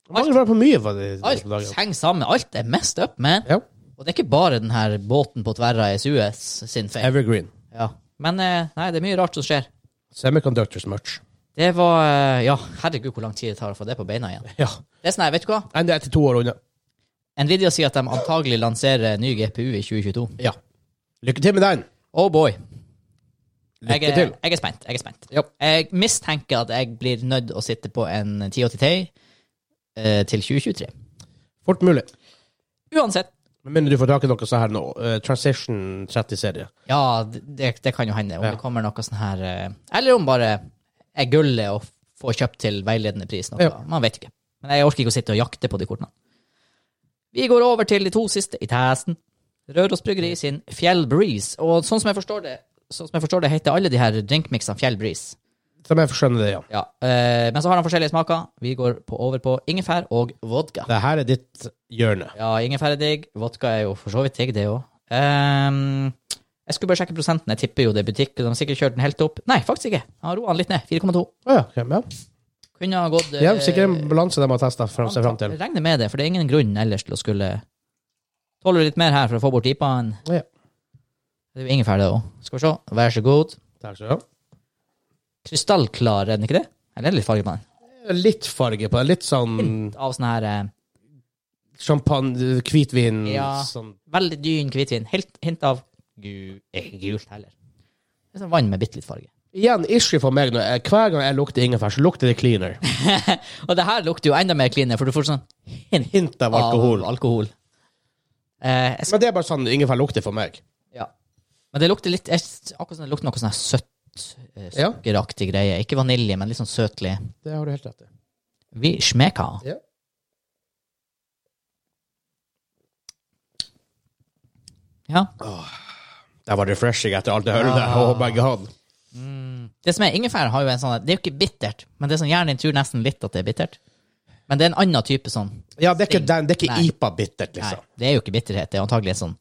A: Mange var på mye for de
B: alt
A: disse dagene.
B: henger sammen. Alt er messed up, man.
A: Ja.
B: Og det er ikke bare den her båten på tverra i Suez sin feil.
A: Evergreen.
B: Ja. Men eh, nei, det er mye rart som skjer.
A: Semiconductors merch.
B: Det var eh, Ja, herregud, hvor lang tid det tar å få det på beina igjen.
A: Ja.
B: Det er sånn her, vet du hva?
A: Enda etter to år unna.
B: Nvidia sier at de antagelig lanserer ny GPU i 2022.
A: Ja. Lykke til med den.
B: Oh boy. Jeg
A: Lykke
B: er,
A: til.
B: jeg er spent. Jeg er spent.
A: Ja.
B: Jeg mistenker at jeg blir nødt å sitte på en 1080 Ti eh, til 2023.
A: Fort mulig.
B: Uansett.
A: Med mindre du får tak i noe sånn her nå. eh, Transition 30-serie.
B: Ja, det, det kan jo hende. Om
A: Ja.
B: det kommer noe sånn her eh, Eller om bare er gullet å få kjøpt til veiledende pris. Noe.
A: Ja.
B: Man vet ikke. Men jeg orker ikke å sitte og jakte på de kortene. Vi går over til de to siste i testen. Røros Bryggeri sin Fjell Breeze. Og sånn som jeg forstår det, sånn som jeg forstår det heter alle de her drinkmiksene Fjell Breeze.
A: Som jeg skjønner det, ja.
B: Ja. eh, men så har de forskjellige smaker. Vi går på, over på ingefær og vodka.
A: Det her er ditt hjørne.
B: Ja, ingefær er digg. Vodka er jo for så vidt digg, det òg. Ehm, jeg skulle bare sjekke prosenten. Jeg tipper jo det er butikk. og De har sikkert kjørt den helt opp. Nei, faktisk ikke. Han roa den litt ned. 4,2.
A: Å ja. ok, ja.
B: Kunne ha gått eh,
A: Eh, Det er sikkert en balanse de har testa seg fram til.
B: Regner med det, for det er ingen grunn ellers til å skulle Tåler litt mer her for å få bort IPA-en.
A: Ja.
B: Det er jo ingefær, det òg. Skal vi se. Vær så god.
A: Takk skal du ha.
B: Krystallklar, er den ikke det? Eller er det litt farge på den?
A: Litt farge på det. Litt sånn
B: Av sånn her eh,
A: champagne, hvitvin
B: Ja.
A: sånn.
B: veldig dyn hvitvin. Helt hint av gu- eh, gult heller. Det er sånn vann med bitte litt farge.
A: Igjen, ikke for meg nå. Jeg- Hver gang jeg lukter ingefær, så lukter det cleaner.
B: Og det her lukter jo enda mer cleaner, for du får sånn hint
A: Hint av alkohol.
B: Av alkohol. Eh, jeg skal,
A: Men det er bare sånn ingefær lukter for meg.
B: ja. Men det lukter litt jeg, s- Akkurat som det lukter noe sånn her søtt, eh,
A: Ja.
B: sukkeraktig greie. Ikke vanilje, men litt sånn søtlig.
A: Det har du helt rett i.
B: Vi smeka.
A: Ja.
B: Ja.
A: Det var refreshing etter alt det hølet der.
B: Ah.
A: Oh my god.
B: Det som er ingefær, har jo en sånn Det er jo ikke bittert, men det er sånn hjernen din tror nesten litt at det er bittert. Men det er en annen type sånn
A: Ja, det er ikke, den, det er ikke
B: Nei.
A: IPA-bittert,
B: Nei,
A: liksom.
B: det er jo ikke bitterhet. Det er antagelig en sånn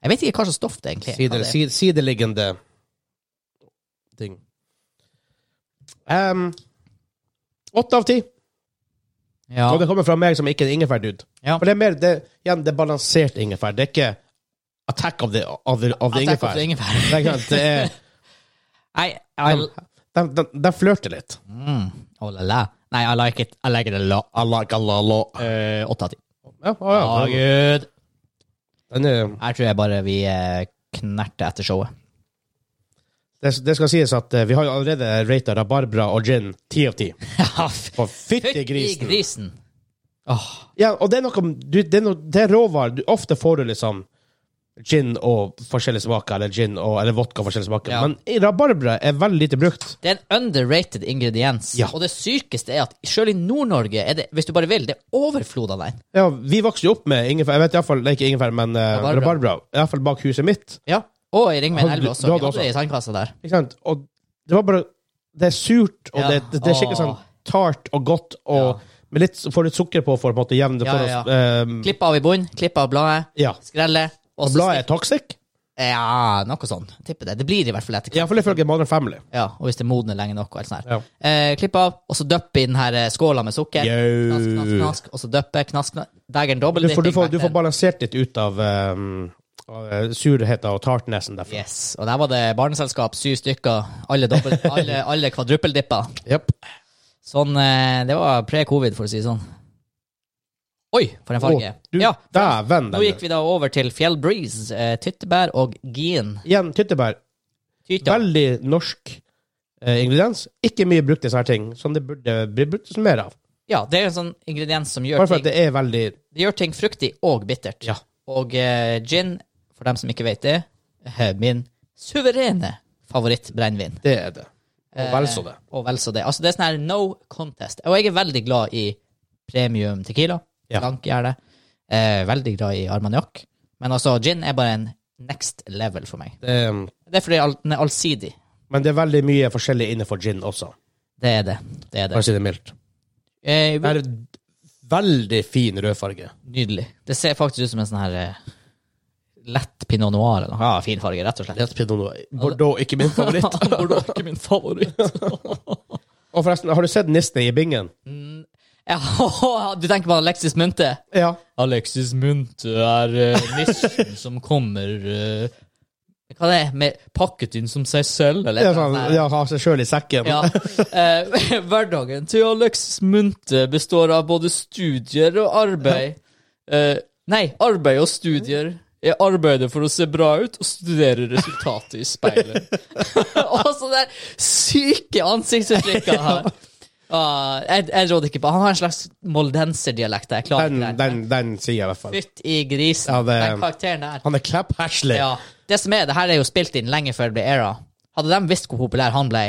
B: Jeg vet ikke hva slags stoff det egentlig er.
A: Sider,
B: Hva det er.
A: si- sideliggende ting. Ehm, Åtte av ti.
B: Ja.
A: Og det kommer fra meg som ikke er en ingefærdude.
B: Ja.
A: For det er mer det, igjen, det er balansert ingefær. Det er ikke attack of the, of the, of the
B: Attack of
A: ingefær.
B: the ingefær.
A: Det er ikke sant, det er,
B: Nei, I,
A: de de, de flørter litt.
B: mm, oh, la, la. Nei, I like it. I like it a lot.
A: I like a la la.
B: Eh, Åtte av ti.
A: Ja, å ja.
B: Å, Gud.
A: Den er,
B: Her tror jeg bare vi eh, knerter etter showet.
A: det, det skal sies at eh, vi har jo allerede rata rabarbra og gin ti av ti.
B: Ja,
A: For fytti grisen.
B: grisen. Åh,
A: Ja, og det er noe du, det, er noe, det er råvarer. Du, ofte får du liksom gin og forskjellige smaker, eller gin og eller vodka og forskjellige smaker.
B: Ja.
A: Men i rabarbra er veldig lite brukt.
B: Det er en underrated ingrediens.
A: Ja.
B: Og det sykeste er at selv i Nord-Norge er det, hvis du bare vil, det er overflod av den.
A: Ja, vi vokste jo opp med ingefær. Jeg vet i hvert fall, det er ikke ingefær, men eh,
B: Rabarbra.
A: rabarbra. I hvert fall bak huset mitt.
B: Ja. Og i Ringveien
A: Hadde du-
B: 11
A: du
B: også. Vi
A: hadde
B: hadde
A: også.
B: det i sandkassa der.
A: Ikke sant? Og det var bare Det er surt, og
B: Ja.
A: det, det, det er skikkelig sånn
B: Åh.
A: tart og godt, og med litt, får litt sukker på for å på en måte jevne det
B: Ja,
A: for
B: ja,
A: oss. ehm,
B: Klipp av i bunnen, klipp av bladet,
A: ja.
B: skrelle og så
A: Bladet er toxic.
B: stikk- Ja, noe sånn. Tipper det. Det blir i hvert fall etter hvert.
A: Iallfall ifølge Modern Family.
B: Ja, og hvis det modner lenge nok. og alt sånt her.
A: Ja.
B: Eh, klipp av, og så døpp i den her eh, skåla med sukker.
A: Yo.
B: Knask, knask, knask, og så døppe, knask, knask. Degeren
A: Du får, du, får, du
B: dobbeltdypping.
A: får balansert litt ut av um, surheten og tartnessen derfra.
B: Yes. Og der var det barneselskap, syv stykker. Alle, dobbelt, alle, alle kvadruppeldipper.
A: Yep.
B: Sånn, eh, det var pre-covid, for å si det sånn. Oi, for en farge.
A: Å, du,
B: ja,
A: Dæven,
B: nå gikk
A: den.
B: vi da over til Fjell Breeze, eh, tyttebær og gin.
A: Igjen, tyttebær.
B: Tyta.
A: Veldig norsk eh, ingrediens. Ikke mye brukt i sånne ting, som det burde bli brukt som mer av.
B: Ja, det er en sånn ingrediens som gjør
A: Bare for at
B: ting,
A: det er veldig
B: det gjør ting fruktig og bittert.
A: Ja.
B: Og eh, gin, for dem som ikke vet det, er min suverene favorittbrennevin.
A: Det er det. Og vel så det.
B: Og vel så det. Altså, det er sånn her no contest. Og jeg er veldig glad i premium tequila.
A: Ja.
B: Blank gjerne. Eh, veldig glad i armagnac. Men altså, gin er bare en next level for meg.
A: det. er-
B: Det er fordi all, den er allsidig.
A: Men det er veldig mye forskjellig innenfor gin også,
B: Det er det. Det er
A: for å
B: det.
A: si det mildt.
B: Eh,
A: Det er veldig fin rødfarge.
B: nydelig. Det ser faktisk ut som en sånn her eh, lett pinot noir eller noe. Ja, fin farge, rett og slett.
A: Lett pinot noir. Bordeaux, ikke min favoritt.
B: Bordeaux er ikke min favoritt.
A: Og forresten, har du sett nissene i bingen?
B: ja, du tenker på Alexis Munte?
A: Ja.
B: Alexis Munthe er eh, nissen som kommer eh, Hva det er med pakket inn som seg selv, eller
A: Det er
B: noe
A: sånn,
B: sånt der.
A: ja har seg sjøl i sekken.
B: Ja. Eh, hverdagen til Alexis Munthe består av både studier og arbeid. Eh, nei, arbeid og studier. Jeg arbeider for å se bra ut og studerer resultatet i speilet. og så det syke ansiktsuttrykket her. Ah, jeg, jeg råder ikke på Han har en slags moldenserdialekt. Jeg klarer
A: Den,
B: ikke det.
A: den, den sier jeg i hvert fall.
B: Fytt i grisen.
A: Ja, det-
B: Den karakteren der.
A: Han er Clap Hashley.
B: Ja. Det som er, det her er jo spilt inn lenge før det ble era. Hadde de visst hvor populær han ble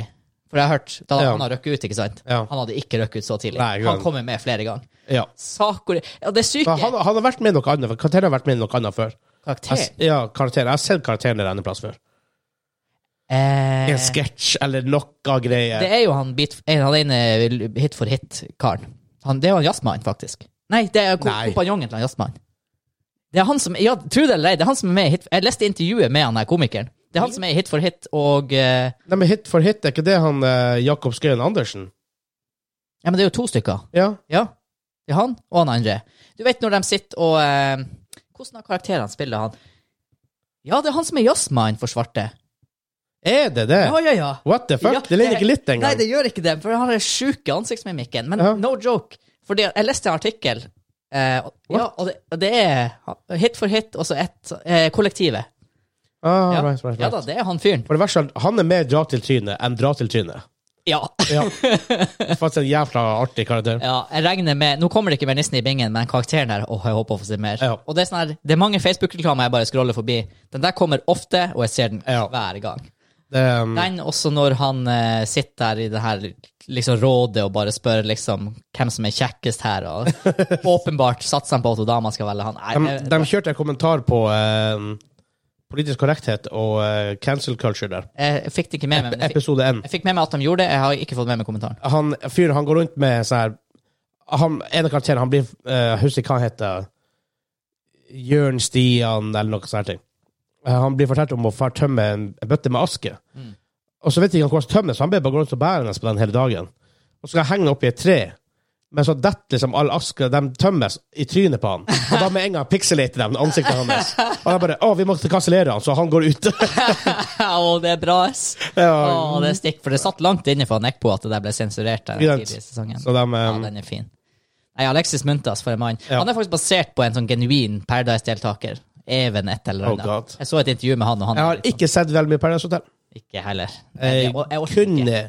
B: For jeg har hørt, da hadde
A: Ja.
B: han har røkket ut, ikke sant?
A: Ja.
B: Han hadde ikke røkket ut så tidlig.
A: Nei, ikke
B: han
A: sant.
B: kommer med flere ganger.
A: Ja.
B: Sakori Ja, det er syke
A: Men Han, han har vært med i noe annet før. Karakteren har vært med i noe annet før.
B: karakter.
A: Jeg, s- ja, karakteren. Jeg har sett karakteren der en plass før. I En
B: Eh,
A: sketsj eller noe
B: det
A: greier.
B: er jo han beat en- Han ene hit for hit-karen. Han- Det er jo han jazzmannen, faktisk. Nei, det er ko-
A: Nei.
B: kompanjongen til han jazzmannen. Det er han som Ja, tro det eller ei, det er han som er med i hit Jeg leste intervjuet med han her komikeren. Det
A: Mm.
B: er han som er i hit for hit og eh,
A: Nei, men hit for hit, er ikke det han eh, Jakob Skøyen Andersen?
B: Ja, men det er jo to stykker.
A: Ja.
B: Ja. Det er han og han andre. Du vet når de sitter og eh, Hvordan av karakterene spiller han? Ja, det er han som er jazzmann for svarte.
A: Er det det?
B: Ja, ja, ja.
A: What the fuck?
B: Ja,
A: det ligner ikke litt
B: Nei,
A: engang.
B: det gjør ikke det, for han har den sjuke ansiktsmimikken. Men
A: Ja.
B: no joke. Fordi jeg leste en artikkel, eh, og, ja, og, det, og det er hit for hit, og så ett eh, kollektivet.
A: Ah,
B: Ja.
A: right, right,
B: Ja
A: right.
B: da, det er han fyren.
A: For det verste er at han er mer dra til trynet enn dra til trynet.
B: Ja.
A: Ja. Faktisk en jævla artig karakter.
B: ja. Jeg regner med Nå kommer det ikke mer nissen i bingen, men karakteren her Åh, jeg håper å få se mer.
A: Ja.
B: Og det er sånn her Det er mange Facebook-reklamer jeg bare scroller forbi. Den der kommer ofte, og jeg ser den
A: Ja.
B: hver gang.
A: Det, um,
B: Den også når han eh, sitter i det her liksom rådet og bare spør liksom hvem som er kjekkest her, og åpenbart satser han på at dama skal velge han. Nei,
A: de,
B: jeg-
A: de kjørte en kommentar på um, politisk korrekthet og eh, cancel culture der.
B: jeg fikk det ikke med meg, men jeg fikk,
A: Episode 1.
B: jeg fikk med meg at de gjorde det. Jeg har ikke fått med meg kommentaren.
A: Han fyren, han går rundt med sånn her han, En av karakterene, han blir eh, Husker ikke hva han heter. Jørn Stian, eller noe sånt. her ting. Eh, han blir fortalt om å far tømme en, en bøtte med aske.
B: Mm.
A: Og så vet ikke han hvordan tømme, så han blir bare gå rundt og bære den på den hele dagen. Og så skal han henge den opp i et tre. Men så detter liksom all aska De tømmes i trynet på han. Og da med en gang pikselater de ansiktet hans. Og da bare Å, vi måtte kansellere han, så han går ut.
B: Å, det er bra, ass!
A: ja.
B: Å, det er stikk, for det satt langt inne for Nekpo at det der ble sensurert der
A: Greit.
B: tidlig i sesongen.
A: Så de
B: Ja,
A: eh,
B: den er fin. Nei, Alexis Muntas, for en mann.
A: Ja.
B: Han er faktisk basert på en sånn genuin Paradise-deltaker. Even et eller
A: Oh,
B: annet.
A: God.
B: jeg så et intervju med han, og han
A: Jeg
B: er
A: har
B: litt sånn-
A: ikke sett veldig mye Paradise Hotel.
B: Ikke heller.
A: Jeg,
B: Jeg, jeg, jeg orker ikke.
A: kunne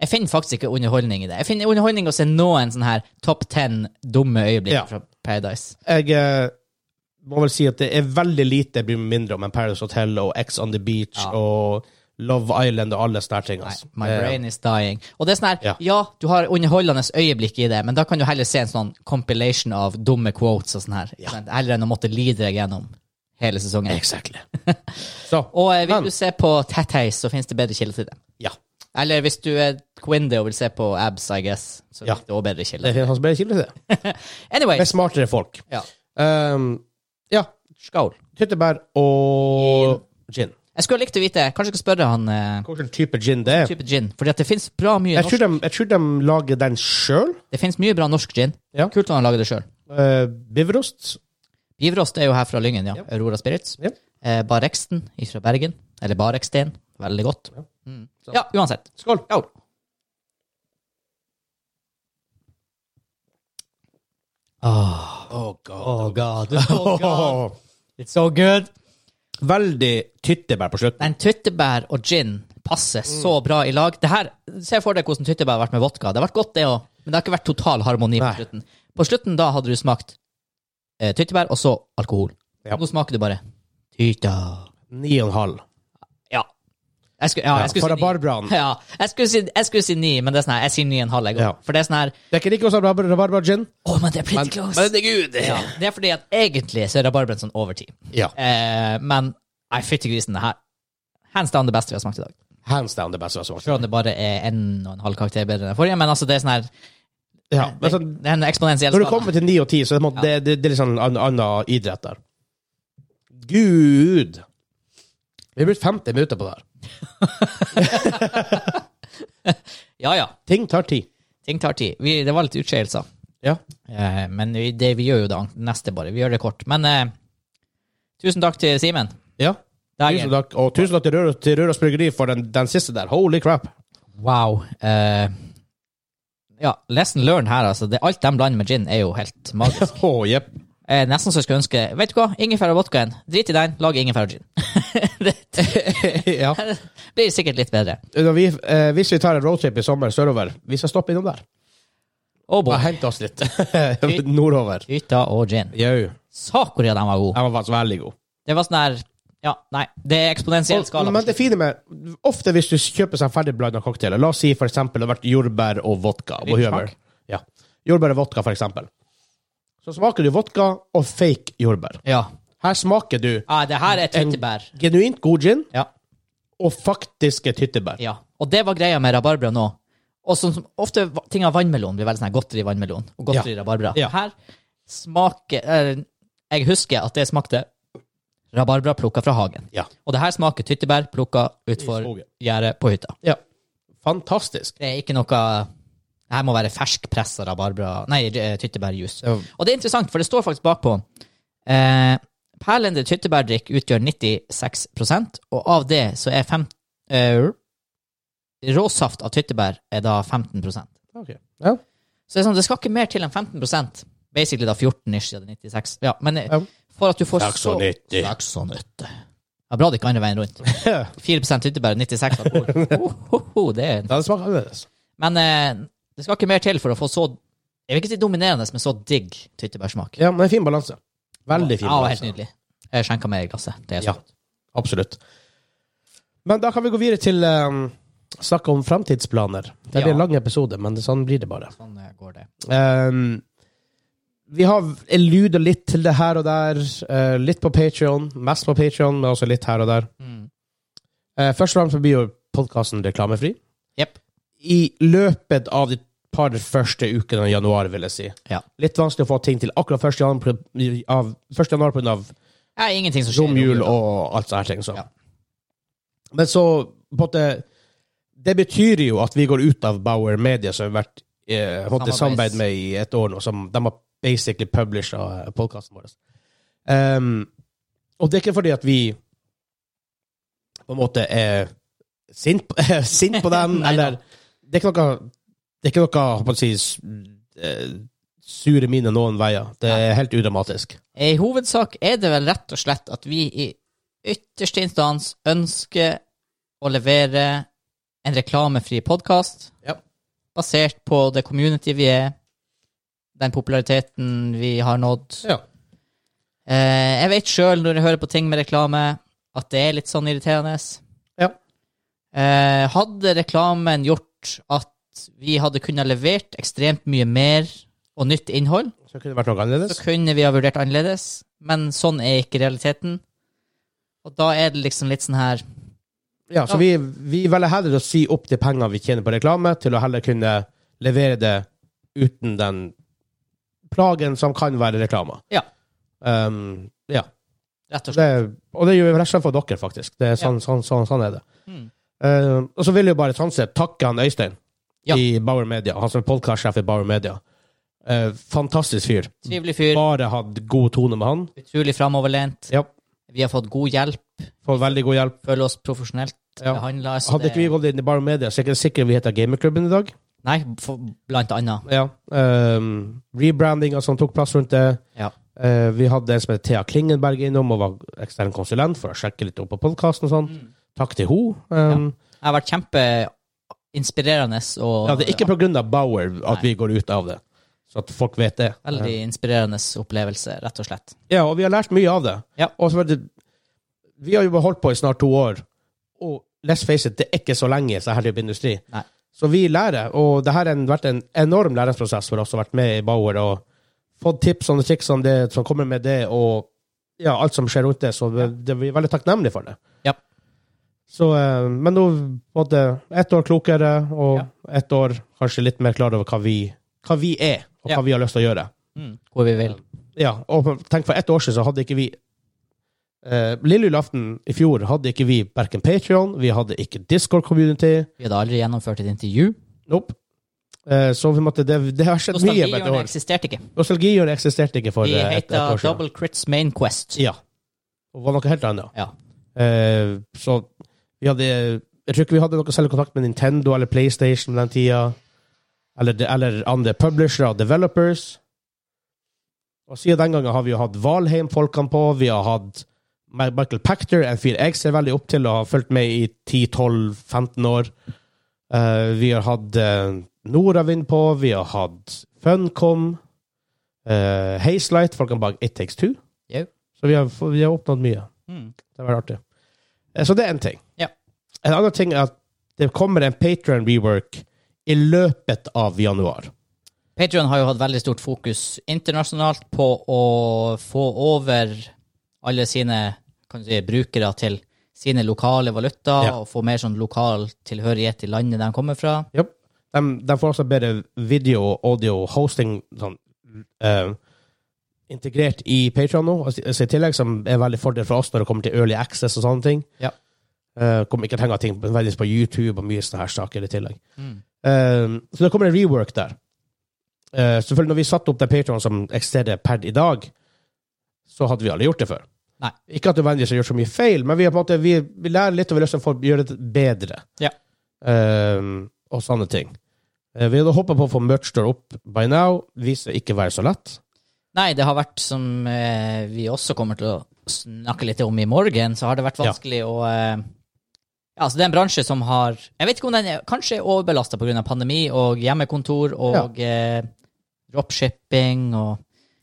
B: Jeg finner faktisk ikke underholdning i det. Jeg finner underholdning å se noen sånne her topp 10 dumme øyeblikk
A: Ja.
B: fra Paradise.
A: Jeg eh, må vel si at det er veldig lite jeg bryr meg mindre om enn Paradise Hotel og X on the Beach
B: Ja.
A: og Love Island og alle sånne ting.
B: Nei,
A: Altså.
B: my
A: Eh,
B: brain is dying. Og det er sånn her, ja.
A: Ja.
B: du har underholdende øyeblikk i det, men da kan du heller se en sånn compilation av dumme quotes og sånn her. ikke sant? Heller enn å måtte lide deg gjennom hele sesongen.
A: Eh, Exactly. Så,
B: Og eh, vil
A: Men-
B: du se på Tattheis, så finnes det bedre kilder til det.
A: ja.
B: Eller hvis du er Quindy og vil se på abs, I guess, så
A: Ja.
B: finnes det også bedre
A: Det
B: kilder.
A: finnes hans bedre kilde til det. Det
B: Anyway,
A: er smartere folk.
B: ja.
A: Um, ja.
B: skål.
A: Tyttebær og gin.
B: Jeg skulle likt å vite, kanskje jeg skal spørre han eh,
A: Hvilken type gin det er.
B: type gin, fordi at det finnes bra mye
A: Jeg
B: norsk
A: tror de, jeg tror de lager den sjøl.
B: Det finnes mye bra norsk gin.
A: Ja.
B: Kult om han lager det sjøl.
A: Uh, Biverost.
B: Bivrost er jo her fra Lyngen, ja.
A: Ja.
B: Aurora Spirits.
A: Ja.
B: Eh, Bareksten fra Bergen. Eller Bareksten. Veldig godt. Ja, mm.
A: Så.
B: ja uansett.
A: Skål.
B: Oh,
A: Oh god.
B: god. It's so good.
A: Veldig tyttebær på slutten.
B: Den tyttebær og gin passer så bra i lag. Det her, Se for deg hvordan tyttebær har vært med vodka. Det har vært godt, det òg, men det har ikke vært total harmoni på
A: Nei.
B: slutten. På slutten da hadde du smakt eh, tyttebær og så alkohol.
A: Ja.
B: Nå smaker du bare tyta.
A: Ni og en halv.
B: Ja. Jeg skulle, ja, jeg skulle
A: for
B: si ni.
A: rabarbraen.
B: Ja, jeg skulle, si, jeg skulle si ni, men det er sånn her, jeg sier ni og en halv. Jeg går.
A: Ja.
B: For det er sånn her
A: Det er ikke like også rabarbra- rabarbra-gin.
B: Å, men det er pretty close.
A: gud.
B: ja, det er fordi at egentlig så er rabarbraen sånn overtid.
A: Ja.
B: Eh, men nei, fytti grisen, det her Hands down det beste vi har smakt i dag.
A: Hands down det beste jeg har smakt.
B: Selv om det bare er en og en halv karakter bedre enn den forrige, men altså, det er sånn her
A: Ja, men
B: det,
A: sånn,
B: det er en eksponentiell
A: når du
B: skala.
A: kommer til ni og ti, så er det, på en måte- det, det, det er litt sånn an- annen idrett der. Gud! Vi har brukt 50 minutter på det her.
B: Ja, ja.
A: Ting tar tid.
B: Ting tar tid. Vi, det var litt utskeielser.
A: Ja.
B: Eh, men vi, det, vi gjør jo det an- neste, bare. Vi gjør det kort. Men eh, tusen takk til Simen.
A: ja.
B: Dagen.
A: Tusen takk, og tusen takk til Røros, til Røros Bryggeri for den, den siste der. Holy crap.
B: Wow. eh, ja, lesson learned her, altså. Det, alt de blander med gin, er jo helt magisk.
A: Oh, yep.
B: Eh, nesten så jeg skulle ønske Vet du hva? Ingefær og vodkaen. Drit i den, lag ingefær og gin. det
A: ja.
B: blir sikkert litt bedre.
A: Når vi, eh, hvis vi tar en roadtrip i sommer sørover, vi skal stoppe innom der.
B: Oh boy.
A: Bare hente oss litt nordover.
B: Gryta og gin.
A: Jau.
B: Sakoria, den var god.
A: Den var faktisk veldig god.
B: Det var sånn der Ja, nei. Det er eksponentiell skala.
A: Og, men det fine med Ofte hvis du kjøper seg ferdigblanda cocktail, la oss si for eksempel det har vært jordbær og vodka whatever.
B: Smak.
A: Ja. Jordbær og vodka, for eksempel. Så smaker du vodka og fake jordbær.
B: Ja.
A: Her smaker du
B: Ah, det her er tyttebær.
A: genuint god gin
B: Ja.
A: og faktiske tyttebær.
B: ja. Og det var greia med rabarbra nå. Og sånn som ofte va- ting av vannmelon blir veldig sånn her godteri vannmelon og godteri rabarbra.
A: Ja.
B: Her smaker eh, Jeg husker at det smakte rabarbra plukka fra hagen.
A: Ja.
B: Og det her smaker tyttebær plukka
A: I
B: utfor
A: skogen.
B: gjerdet på hytta.
A: Ja. Fantastisk.
B: Det er ikke noe Det her må være ferskpressa rabarbra Nei, eh, tyttebærjuice.
A: Ja.
B: Og det er interessant, for det står faktisk bakpå eh, Perlende tyttebærdrikk utgjør 96 og av det så er fem, eh, råsaft av tyttebær er da 15 Så
A: Ok. Ja.
B: det, er sånn, det skal ikke mer til enn 15 Basically da 14 ish siden 96. Ja, men eh,
A: Ja.
B: for at du får
A: Saks og nyttig.
B: Saks og nyttig. Ja, bra det ikke er andre veien rundt. 4 tyttebær, 96 alkohol. Ho, ho, ho, det er
A: Det hadde smakt annerledes.
B: Men eh, det skal ikke mer til for å få så Jeg vil ikke si dominerende, men så digg tyttebærsmak.
A: Ja, men en fin balanse. Veldig fin
B: Ja,
A: balanse.
B: helt nydelig. Jeg skjenka meg i glasset. Det er så
A: Ja, absolutt. Men da kan vi gå videre til um, snakke om framtidsplaner. Det blir
B: Ja.
A: en lang episode, men det, sånn blir det bare.
B: Sånn eh, går det.
A: Um, vi har eluda litt til det her og der. eh, litt på Patreon mest på Patreon men også litt her og der.
B: Mm.
A: Eh, først og fremst så blir jo podkasten reklamefri.
B: Jepp.
A: I løpet av de par første ukene i januar, vil jeg si.
B: Ja.
A: Litt vanskelig å få ting til akkurat 1. januar på- av- 1. januar pga.
B: Det er ingenting som skjer. i
A: romjul
B: romjula.
A: og alt sånne ting. Så.
B: Ja.
A: Men så på en måte, Det betyr jo at vi går ut av Bauer Media, som vi har vært eh, holdt i
B: Samarbeids-
A: samarbeid med i et år nå. Som de har basically publisha podkasten vår. Ehm, og det er ikke fordi at vi på en måte er sint, på- er sint på dem,
B: Nei da.
A: eller Det er ikke noe Det er ikke noe, hva man sier, s- eh, sure mine noen veier. Det er helt udramatisk.
B: I hovedsak er det vel rett og slett at vi i ytterste instans ønsker å levere en reklamefri podkast
A: Ja.
B: basert på det community vi er, den populariteten vi har nådd.
A: Ja.
B: Eh, jeg vet sjøl, når jeg hører på ting med reklame, at det er litt sånn irriterende.
A: Ja.
B: Eh, hadde reklamen gjort at vi hadde kunnet levert ekstremt mye mer og nytt innhold,
A: Så kunne det vært noe annerledes.
B: så kunne vi ha vurdert annerledes, men sånn er ikke realiteten. Og da er det liksom litt sånn her
A: Ja, så
B: Ja.
A: vi, vi velger heller å si opp de pengene vi tjener på reklame, til å heller kunne levere det uten den plagen som kan være reklame.
B: Ja.
A: Um, ja.
B: Rett og slett.
A: Det, og det gjør vi rett og slett for dere, faktisk. Det er sånn, sånn, sånn, sånn er det.
B: Mm.
A: Um, og så vil jeg jo bare sånn sett takke han Øystein
B: Ja.
A: i Bauer Media, han som er podkastsjef i Bauer Media. Eh, fantastisk fyr.
B: Trivelig fyr.
A: Bare hatt god tone med han.
B: Utrolig framoverlent.
A: Ja.
B: Vi har fått god hjelp.
A: Får veldig god hjelp.
B: Føler oss profesjonelt
A: Ja.
B: behandla.
A: Hadde ikke vi gått inn i Bauer Media, så er jeg ikke sikker vi heter Gamerklubben i dag.
B: Nei, for, blant annet.
A: Ja. ehm, Rebrandinga som tok plass rundt det.
B: Ja.
A: Eh, vi hadde en som het Thea Klingenberg innom og var ekstern konsulent for å sjekke litt opp på podkasten og sånn. Takk til ehm. henne.
B: Det har vært kjempeinspirerende og
A: ja, det er ikke pga. Bauer at vi går ut av det, så at folk vet det.
B: veldig inspirerende opplevelse, rett og slett.
A: Ja, og vi har lært mye av det.
B: Ja.
A: Og så er det Vi har jo bare holdt på i snart to år, og let's face it, det er ikke så lenge i sånn her type industri.
B: Nei.
A: Så vi lærer, og det her har vært en enorm læringsprosess for oss som har vært med i Bauer, og fått tips og triks om det som kommer med det, og ja, alt som skjer rundt det, så vi, det, vi er veldig takknemlige for det.
B: Ja.
A: Så, eh, men nå både ett år klokere, og
B: Ja.
A: ett år kanskje litt mer klar over hva vi, hva vi er, og
B: Ja.
A: hva vi har lyst til å gjøre.
B: Hvor vi vil.
A: Ja, og tenk for ett år siden så hadde ikke vi eh, Lille julaften i fjor hadde ikke vi verken Patrion, vi hadde ikke Discord-community.
B: Vi hadde aldri gjennomført et intervju.
A: Nope. Eh, så vi måtte, det, det har skjedd mye på et
B: Nostalgihjørnet
A: år.
B: eksisterte ikke.
A: Nostalgihjørnet eksisterte ikke for
B: Vi
A: eh, et, et
B: heter
A: år siden.
B: Double Crits Main Quest.
A: Ja. Og var noe helt annet.
B: Ja.
A: Eh, så vi hadde Jeg tror ikke vi hadde noe særlig kontakt med Nintendo eller PlayStation den tida. Eller, eller andre publishere og developers. Og siden den gangen har vi jo hatt Valheim-folkene på. Vi har hatt Ma- Michael Pactor, en fyr jeg ser veldig opp til og har fulgt med i 10-12-15 år. Eh, vi har hatt eh, Noravind på. Vi har hatt Funcom. Uh, Hazelight, folkene bak It Takes Two.
B: Jau.
A: Så vi har, vi har oppnådd mye.
B: Mm.
A: Det var artig. Eh, Så det er en ting.
B: Ja.
A: En annen ting er at det kommer en Patreon rework i løpet av januar.
B: Patreon har jo hatt veldig stort fokus internasjonalt på å få over alle sine kan du si, brukere til sine lokale valutaer,
A: Ja.
B: og få mer sånn lokal tilhørighet til landet de kommer fra.
A: De, de får også bedre video, audio, hosting sånn, eh, integrert i Patreon nå, altså, altså i tillegg, som er veldig fordel for oss når det kommer til early access og sånne ting.
B: Ja.
A: Eh, kommer ikke til å henge ting på- veldig på YouTube og mye sånne her saker i tillegg.
B: Mm.
A: Eh, så det kommer en rework der. Ehm, Eh, selvfølgelig, når vi satte opp den Patreon som eksisterer per i dag, så hadde vi alle gjort det før.
B: Nei.
A: Ikke at nødvendigvis har gjort så mye feil, men vi, har på en måte, vi, vi lærer litt, og vi har lyst til å få gjøre det bedre.
B: Ja.
A: Ehm, og sånne ting. Eh, vi hadde håpa på å få merch store opp by now. Viser ikke være så lett.
B: Nei, det har vært som eh, vi også kommer til å snakke litt om i morgen, så har det vært
A: Ja.
B: vanskelig å eh, ja, altså Det er en bransje som har Jeg vet ikke om den er, kanskje er overbelasta pga. pandemi og hjemmekontor og eh, dropshipping og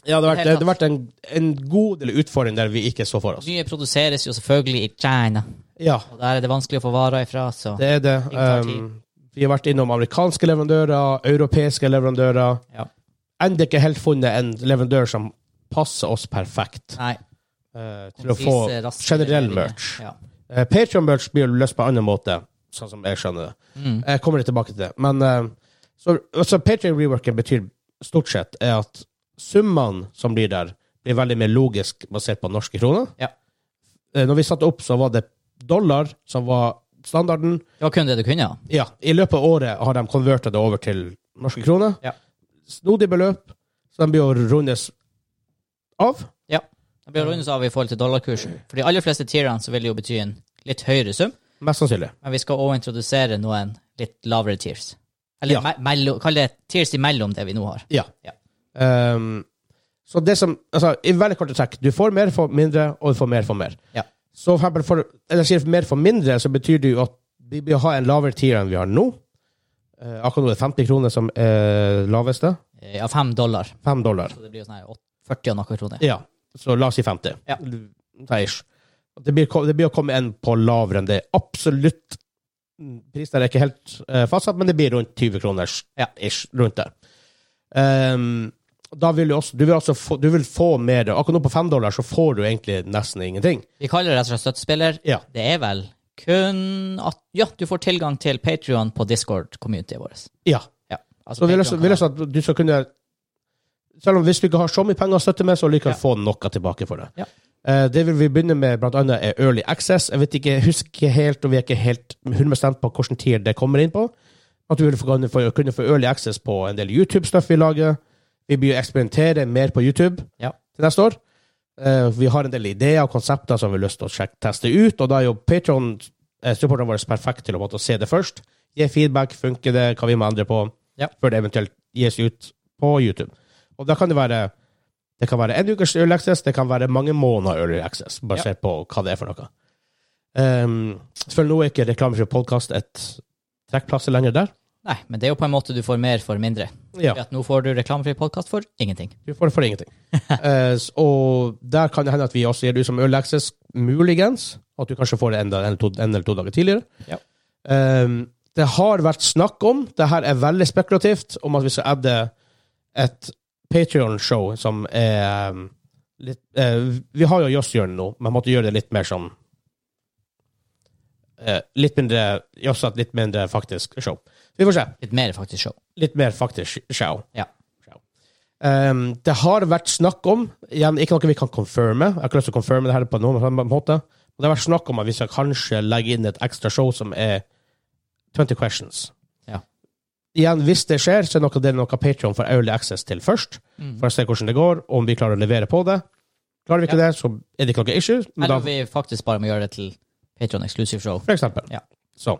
A: Ja, det har vært,
B: Helt
A: det har vært en, en god del utfordring der vi ikke så for oss.
B: Nye produseres jo selvfølgelig i China,
A: Ja,
B: og der er det vanskelig å få varer ifra, så
A: det er det.
B: Ting tar tid.
A: Ehm, vi har vært innom amerikanske leverandører, europeiske leverandører.
B: Ja.
A: Enda ikke helt funnet en leverandør som passer oss perfekt
B: Nei.
A: eh, til å få
B: konsise, raske
A: generell
B: leveringer.
A: merch.
B: Ja.
A: Eh, Patreon-merch blir løst på en annen måte, sånn som jeg skjønner det.
B: Mm.
A: Jeg kommer litt tilbake til det. Men eh, så, altså, Patreon-reworken betyr stort sett er at summene som blir der, blir veldig mer logisk basert på norske kroner.
B: Ja.
A: Eh, Når vi satte opp, så var det dollar som var standarden.
B: Det var kun det du kunne, ja.
A: Ja, I løpet av året har de konvertet det over til norske kroner.
B: Ja.
A: Snodig beløp, så de blir jo rundes av.
B: Ja. Det blir rundet av i forhold til dollarkursen. For de aller fleste tierne så vil det jo bety en litt høyere sum,
A: Mest sannsynlig.
B: men vi skal også introdusere noen litt lavere tiers. Eller
A: Ja.
B: me mellom- kall det tiers imellom det vi nå har.
A: Ja.
B: Ja.
A: Ehm, så det som altså, I veldig korte trekk, du får mer for mindre, og du får mer for mer.
B: Ja.
A: Så for eksempel for, eller jeg sier mer for mindre, så betyr det jo at vi bør ha en lavere tier enn vi har nå. Eh, akkurat nå er det 50 kroner som er laveste.
B: Eh, Ja, fem dollar.
A: 5 dollar.
B: Så det blir jo sånn her åt- 40 og noen kroner.
A: Ja. Så la oss si 50.
B: Ja.
A: Ta ish. Det blir, ko- det blir å komme en på lavere enn det. Absolutt. Prisen er ikke helt eh, fastsatt, men det blir rundt 20 kroner
B: Ja.
A: ish. Rundt der. Ehm, da vil du også, du vil altså få, du vil få mer. Akkurat nå på 5 dollar så får du egentlig nesten ingenting.
B: Vi kaller det rett og slett støttespiller.
A: Ja.
B: Det er vel kun at Ja, du får tilgang til Patrion på Discord-communityet vårt.
A: Ja.
B: Ja. Altså,
A: Så vil jeg,
B: Patreon
A: vil
B: kan
A: jeg så at du skal kunne Selv om hvis du ikke har så mye penger å støtte med, så likevel
B: Ja.
A: få noe tilbake for det.
B: Ja.
A: Eh, det vil vi begynne med, blant annet er Early Access. Jeg vet ikke, jeg husker ikke helt, og vi er ikke helt 100 på hvilken tier det kommer inn på. At du vil få, kunne, få, kunne få Early Access på en del YouTube-stuff vi lager. Vi blir å eksperimentere mer på YouTube
B: Ja.
A: til neste år. Eh, vi har en del ideer og konsepter som vi har lyst til å sjekke, teste ut, og da er jo Patron-supporterne våre perfekt til å måtte se det først. Gi feedback, funker det, hva vi må endre på,
B: Ja.
A: før det eventuelt gis ut på YouTube. Og da kan det være det kan være en ukers early access, det kan være mange måneder early access, basert på hva det er for noe. Ehm, selvfølgelig nå er ikke reklame for podkast et trekkplass lenger der.
B: Nei, men det er jo på en måte du får mer for mindre.
A: Ja.
B: For at nå får du reklamefri podkast for ingenting.
A: Du får det for ingenting. Eh, s- og der kan det hende at vi også gir det ut som early access, muligens. At du kanskje får det enda en, eller to, en eller to dager tidligere.
B: Ja.
A: Ehm, det har vært snakk om, det her er veldig spekulativt, om at vi skal adde et Patrion-show som er um, litt eh, Vi har jo Joss-hjørnet nå, men måtte gjøre det litt mer sånn eh, Litt mindre Joss har et litt mindre faktisk show. Vi får se
B: Litt mer faktisk show.
A: litt mer faktisk sjau.
B: Ja.
A: Sjau. Ehm, det har vært snakk om, igjen, ikke noe vi kan confirme, jeg har ikke lyst til å confirme det her på noen annen måte, men det har vært snakk om at vi skal kanskje legge inn et ekstra show som er 20 questions.
B: Ja.
A: Igjen, hvis det skjer, så er noe det er noe Patreon får early access til først,
B: Mm.
A: for å se hvordan det går, og om vi klarer å levere på det. Klarer vi ikke det, så er det ikke noe issue, men
B: Eller
A: da,
B: om vi faktisk bare må gjøre det til Patron Exclusive Show.
A: for eksempel.
B: Ja.
A: Så.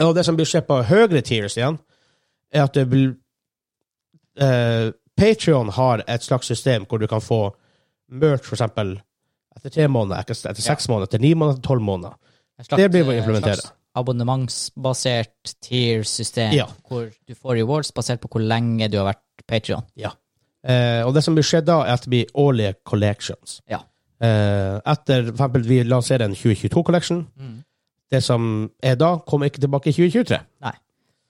A: Og det som blir skje på høyere tiers igjen, er at det blir eh, Patreon har et slags system hvor du kan få merch, for eksempel, etter tre måneder, etter, etter seks måneder, etter ni måneder, etter tolv måneder.
B: En slags-
A: Det blir å
B: en
A: implementere.
B: slags Abonnementsbasert tier-system,
A: Ja.
B: hvor du får rewards basert på hvor lenge du har vært Patreon.
A: Eh, og det som blir skje da, er at det blir årlige collections.
B: Ja.
A: Eh, etter, for eksempel, vi lanserer en 2022-collection.
B: Mm.
A: Det som er da, kommer ikke tilbake i 2023.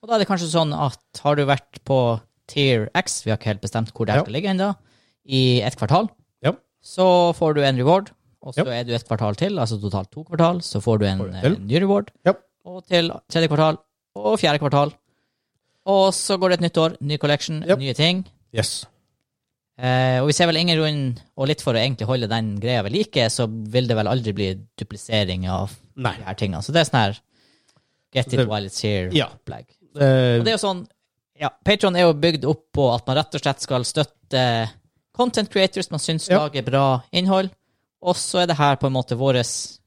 B: Og da er det kanskje sånn at har du vært på tier X, vi har ikke helt bestemt hvor det her
A: Ja.
B: skal ligge ennå, i et kvartal,
A: Ja.
B: så får du en reward, og så
A: Ja.
B: er du et kvartal til, altså totalt to kvartal, så får du en,
A: Får du til.
B: eh, ny reward,
A: Ja.
B: og til tredje kvartal, og fjerde kvartal, og så går det et nytt år, ny collection,
A: Ja.
B: nye ting,
A: Yes.
B: Eh, og vi ser vel ingen grunn, og litt for å egentlig holde den greia ved like, så vil det vel aldri bli duplisering av
A: Nei.
B: de her tingene. Så det er sånn her get it
A: Det-
B: while it's
A: Ja.
B: here-opplegg.
A: Eh,
B: Og det er jo sånn, ja, Patron er jo bygd opp på at man rett og slett skal støtte content creators man syns
A: Ja.
B: lager bra innhold, Og så er det her på en måte vår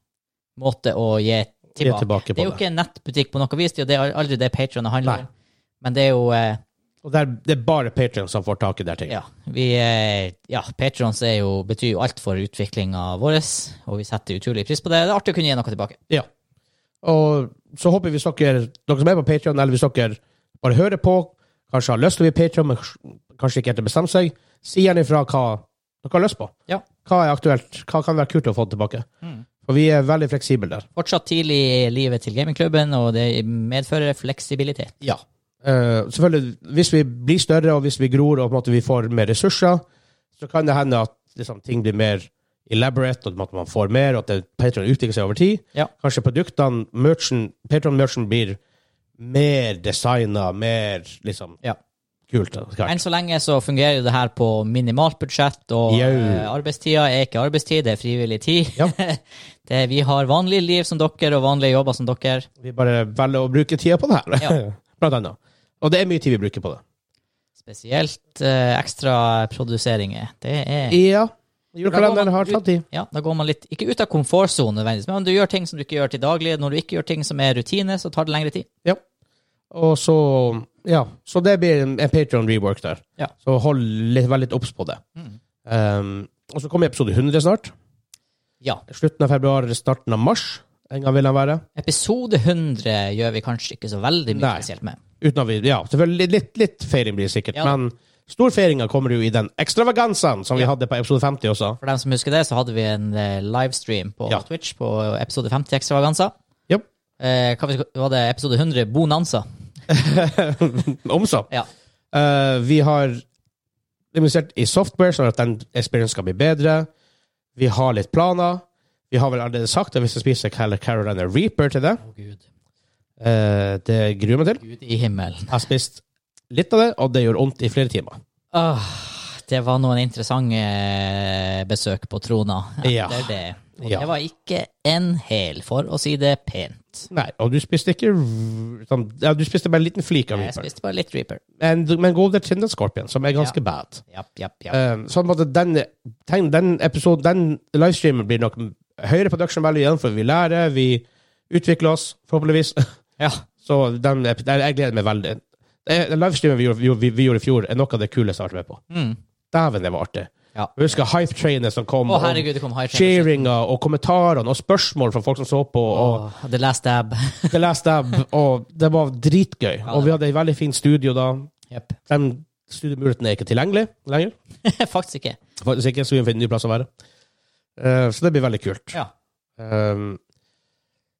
B: måte å gi
A: Vi er
B: tilbake.
A: tilbake
B: Det
A: på
B: er jo
A: det.
B: ikke en nettbutikk på noe vis, det er jo det- aldri det Patron handler
A: Nei.
B: om. Men det er jo eh,
A: Og det er, det er bare Patrion som får tak i de tingene.
B: Ja. Vi, eh, ja Patrons er jo, betyr jo alt for utviklinga vår, og vi setter utrolig pris på det. Det er artig å kunne gi noe tilbake.
A: Ja. Og så håper vi hvis dere, dere som er på Patreon eller hvis dere bare hører på, kanskje har lyst til å bli Patreon men kanskje ikke helt har bestemt seg, si gjerne ifra hva dere har lyst på.
B: Ja.
A: Hva er aktuelt? Hva kan være kult å få tilbake? For vi er veldig fleksible der.
B: Fortsatt tidlig i livet til gamingklubben, og det medfører fleksibilitet.
A: Ja. Eh, selvfølgelig, hvis vi blir større, og hvis vi gror, og på en måte vi får mer ressurser, så kan det hende at liksom, ting blir mer elaborate, og at man får mer, og at det- Patreon utvikler seg over tid.
B: Ja.
A: Kanskje produktene, merchen, Patreon-merchen blir mer designa, mer liksom
B: Ja.
A: kult. da, klart.
B: Enn så lenge så fungerer jo det her på minimalt budsjett, og
A: Jau.
B: eh, arbeidstida er ikke arbeidstid, det er frivillig tid.
A: Ja.
B: det, vi har vanlige liv som dere, og vanlige jobber som dere.
A: Vi bare velger å bruke tida på det her,
B: Ja.
A: blant annet. Og det er mye tid vi bruker på det.
B: Spesielt eh, ekstra produseringer. Det er
A: Ja. Julekalenderen har tatt tid.
B: Ja, da går man litt Ikke ut av komfortsonen nødvendigvis, men du gjør ting som du ikke gjør til daglig. Når du ikke gjør ting som er rutine, så tar det lengre tid.
A: Ja. Og så Ja. Så det blir en, en Patreon rework der.
B: Ja.
A: Så hold litt, vær litt obs på det.
B: Mm.
A: Um, og så kommer episode 100 snart.
B: Ja.
A: Slutten av februar eller starten av mars. En gang vil den være.
B: Episode 100 gjør vi kanskje ikke så veldig mye
A: Nei.
B: spesielt med.
A: Uten at vi, ja, selvfølgelig litt, litt feiring blir det sikkert,
B: Ja.
A: men storfeiringa kommer jo i den ekstravagansen som vi
B: Ja.
A: hadde på episode 50 også.
B: For dem som husker det, så hadde vi en eh, livestream på
A: Ja.
B: Twitch på episode 50 Ekstravaganza.
A: Japp.
B: Eh, hva vi sk- var det episode 100 Bonanza?
A: Om så.
B: Ja.
A: Eh, vi har investert i software, sånn at den experience skal bli bedre. Vi har litt planer. Vi har vel allerede sagt at vi skal spise Cal- Carolina Reaper til det.
B: Å, gud.
A: Eh, det gruer jeg meg til.
B: Gud i himmelen.
A: Jeg har spist litt av det, og det gjør vondt i flere timer.
B: Åh, Ah, det var noen interessante besøk på Trona.
A: Ja.
B: Det, er det. Og
A: Ja.
B: det var ikke en hel, for å si det pent.
A: Nei, og du spiste ikke r- sånn, ja, Du spiste bare en liten flik av
B: Jeg
A: Reaper.
B: spiste bare litt Reaper.
A: Men, men Golden Chinden Scorpion, som er ganske
B: Ja.
A: bad.
B: Japp, japp, japp.
A: Um, sånn at den, tenk, den episoden, den livestreamen blir nok høyere production value igjen, for vi lærer, vi utvikler oss, forhåpentligvis.
B: Ja.
A: Så den, ep- den, jeg gleder meg veldig. Det- Den livestreamen vi gjorde, vi, vi gjorde i fjor, er noe av det kuleste jeg har vært med på.
B: Mm.
A: Dæven, det var artig.
B: Ja.
A: Jeg husker hype-trainet som kom,
B: Å,
A: og
B: herregud, det kom high train.
A: cheeringa og kommentarene og spørsmål fra folk som så på. Og,
B: Åh, The Last Dab.
A: The Last Dab, og det var dritgøy. og vi hadde et veldig fint studio da.
B: Jepp.
A: Den studiomuligheten er ikke tilgjengelig lenger.
B: Faktisk ikke.
A: Faktisk ikke, så vi må finne en ny plass å være. Eh, så det blir veldig kult.
B: Ja.
A: Um,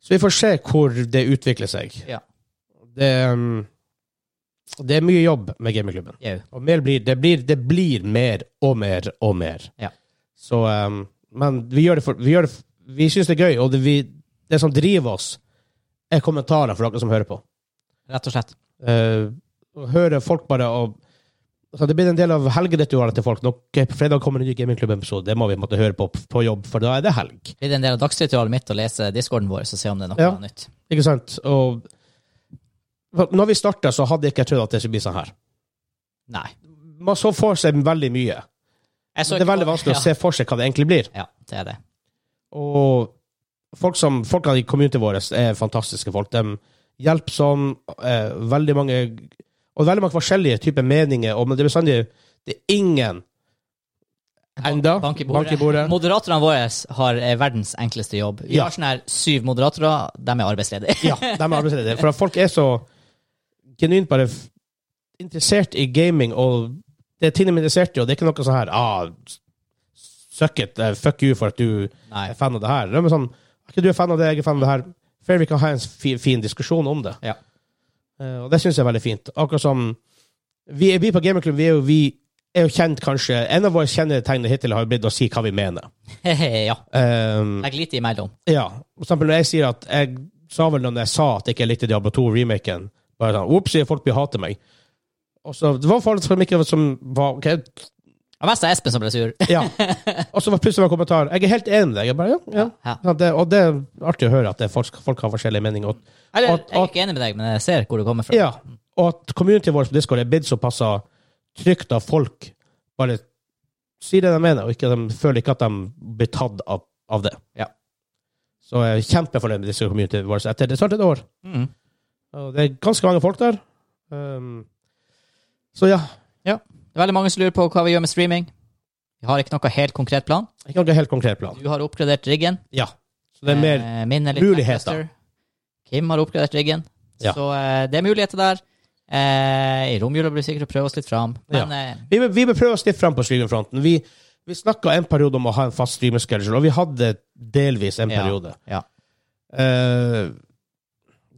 A: så vi får se hvor det utvikler seg.
B: Ja.
A: Det, um, det er mye jobb med gamingklubben.
B: Jau.
A: Og mer blir, det, blir, det blir mer og mer og mer.
B: Ja.
A: Så, um, men vi gjør det for Vi, gjør det, for- vi syns det er gøy, og det, vi, det som driver oss, er kommentarer fra dere som hører på.
B: Rett og slett.
A: Eh, og høre folk bare og så Det blir en del av helgeritualet til folk. Nå, ok, på fredag kommer en ny Gamingklubben-episode. Det må vi måtte høre på på jobb, for da er det helg.
B: Blir det en del av dagsritualet mitt å lese discorden vår og se om det er noe
A: Ja.
B: nytt?
A: Ikke sant? Og for når vi starta, så hadde jeg ikke trodd at det skulle bli sånn her.
B: Nei.
A: Man så for seg veldig mye.
B: Jeg
A: Det
B: så
A: er
B: ikke
A: veldig
B: på-
A: vanskelig
B: ja.
A: å se for seg hva det egentlig blir.
B: Ja, det er det.
A: Og folk som, folkene i communityen vår er fantastiske folk. De hjelpsomme, eh, veldig mange Og veldig mange forskjellige typer meninger, og men det er bestandig Det er ingen enda
B: Bank i bordet. Moderatorene våre har eh, verdens enkleste jobb. Vi
A: Ja.
B: har sånn her syv moderatorer, de er arbeidsledige.
A: Ja, de er arbeidsledige. For at folk er så genuint bare f- interessert i gaming, og det er ting de er interessert i, og det er ikke noe sånn her ah, Suck it, eh, fuck you for at du
B: Nei.
A: er fan av det her. Det er bare sånn, er ikke du er fan av det, jeg er fan av det her. Fair, vi kan ha en fin, fin diskusjon om det.
B: Ja.
A: Eh, og det syns jeg er veldig fint. Akkurat som vi, vi på Gamerklubb, vi er jo, vi er jo kjent kanskje En av våre kjennetegn hittil har jo blitt å si hva vi mener.
B: ja.
A: Um,
B: Legg litt imellom.
A: ja. For eksempel når jeg sier at Jeg sa vel når jeg sa at jeg ikke likte Diablo 2-remaken Bare sånn Ops, sier folk blir hater meg. Og så Det var folk som ikke som var ok,
B: Det var mest av Espen som ble sur.
A: ja. Og så var plutselig en kommentar Jeg er helt enig med deg. Jeg bare, ja, ja.
B: Ja.
A: Ja, det, og det er artig å høre at det er folk, folk har forskjellige meninger. Og,
B: Eller,
A: At-
B: jeg er ikke enig med deg, men jeg ser hvor du kommer fra.
A: ja, og at communityen vår på Discord er blitt såpass trygt av folk bare sier det de mener, og ikke, de føler ikke at de blir tatt av, av det.
B: Ja.
A: Så jeg er kjempefornøyd med disse community awards etter det snart et år.
B: Mm.
A: Og det er ganske mange folk der. Um, så ja,
B: Det er veldig mange som lurer på hva vi gjør med streaming. Vi har ikke noe helt konkret plan.
A: jeg kan ikke ha helt konkret plan.
B: Du har oppgradert riggen.
A: Ja. Så det er mer
B: Eh, min er litt
A: muligheter.
B: Lancaster. Kim har oppgradert riggen.
A: Ja.
B: Så eh, det er muligheter der. Eh, I romjula blir vi sikkert å prøve oss litt fram. Men eh,
A: Vi, bør- vi bør prøve oss litt fram på streamingfronten. Vi, vi snakka en periode om å ha en fast streamerschedule, og vi hadde delvis en
B: Ja.
A: periode.
B: Ja.
A: Eh,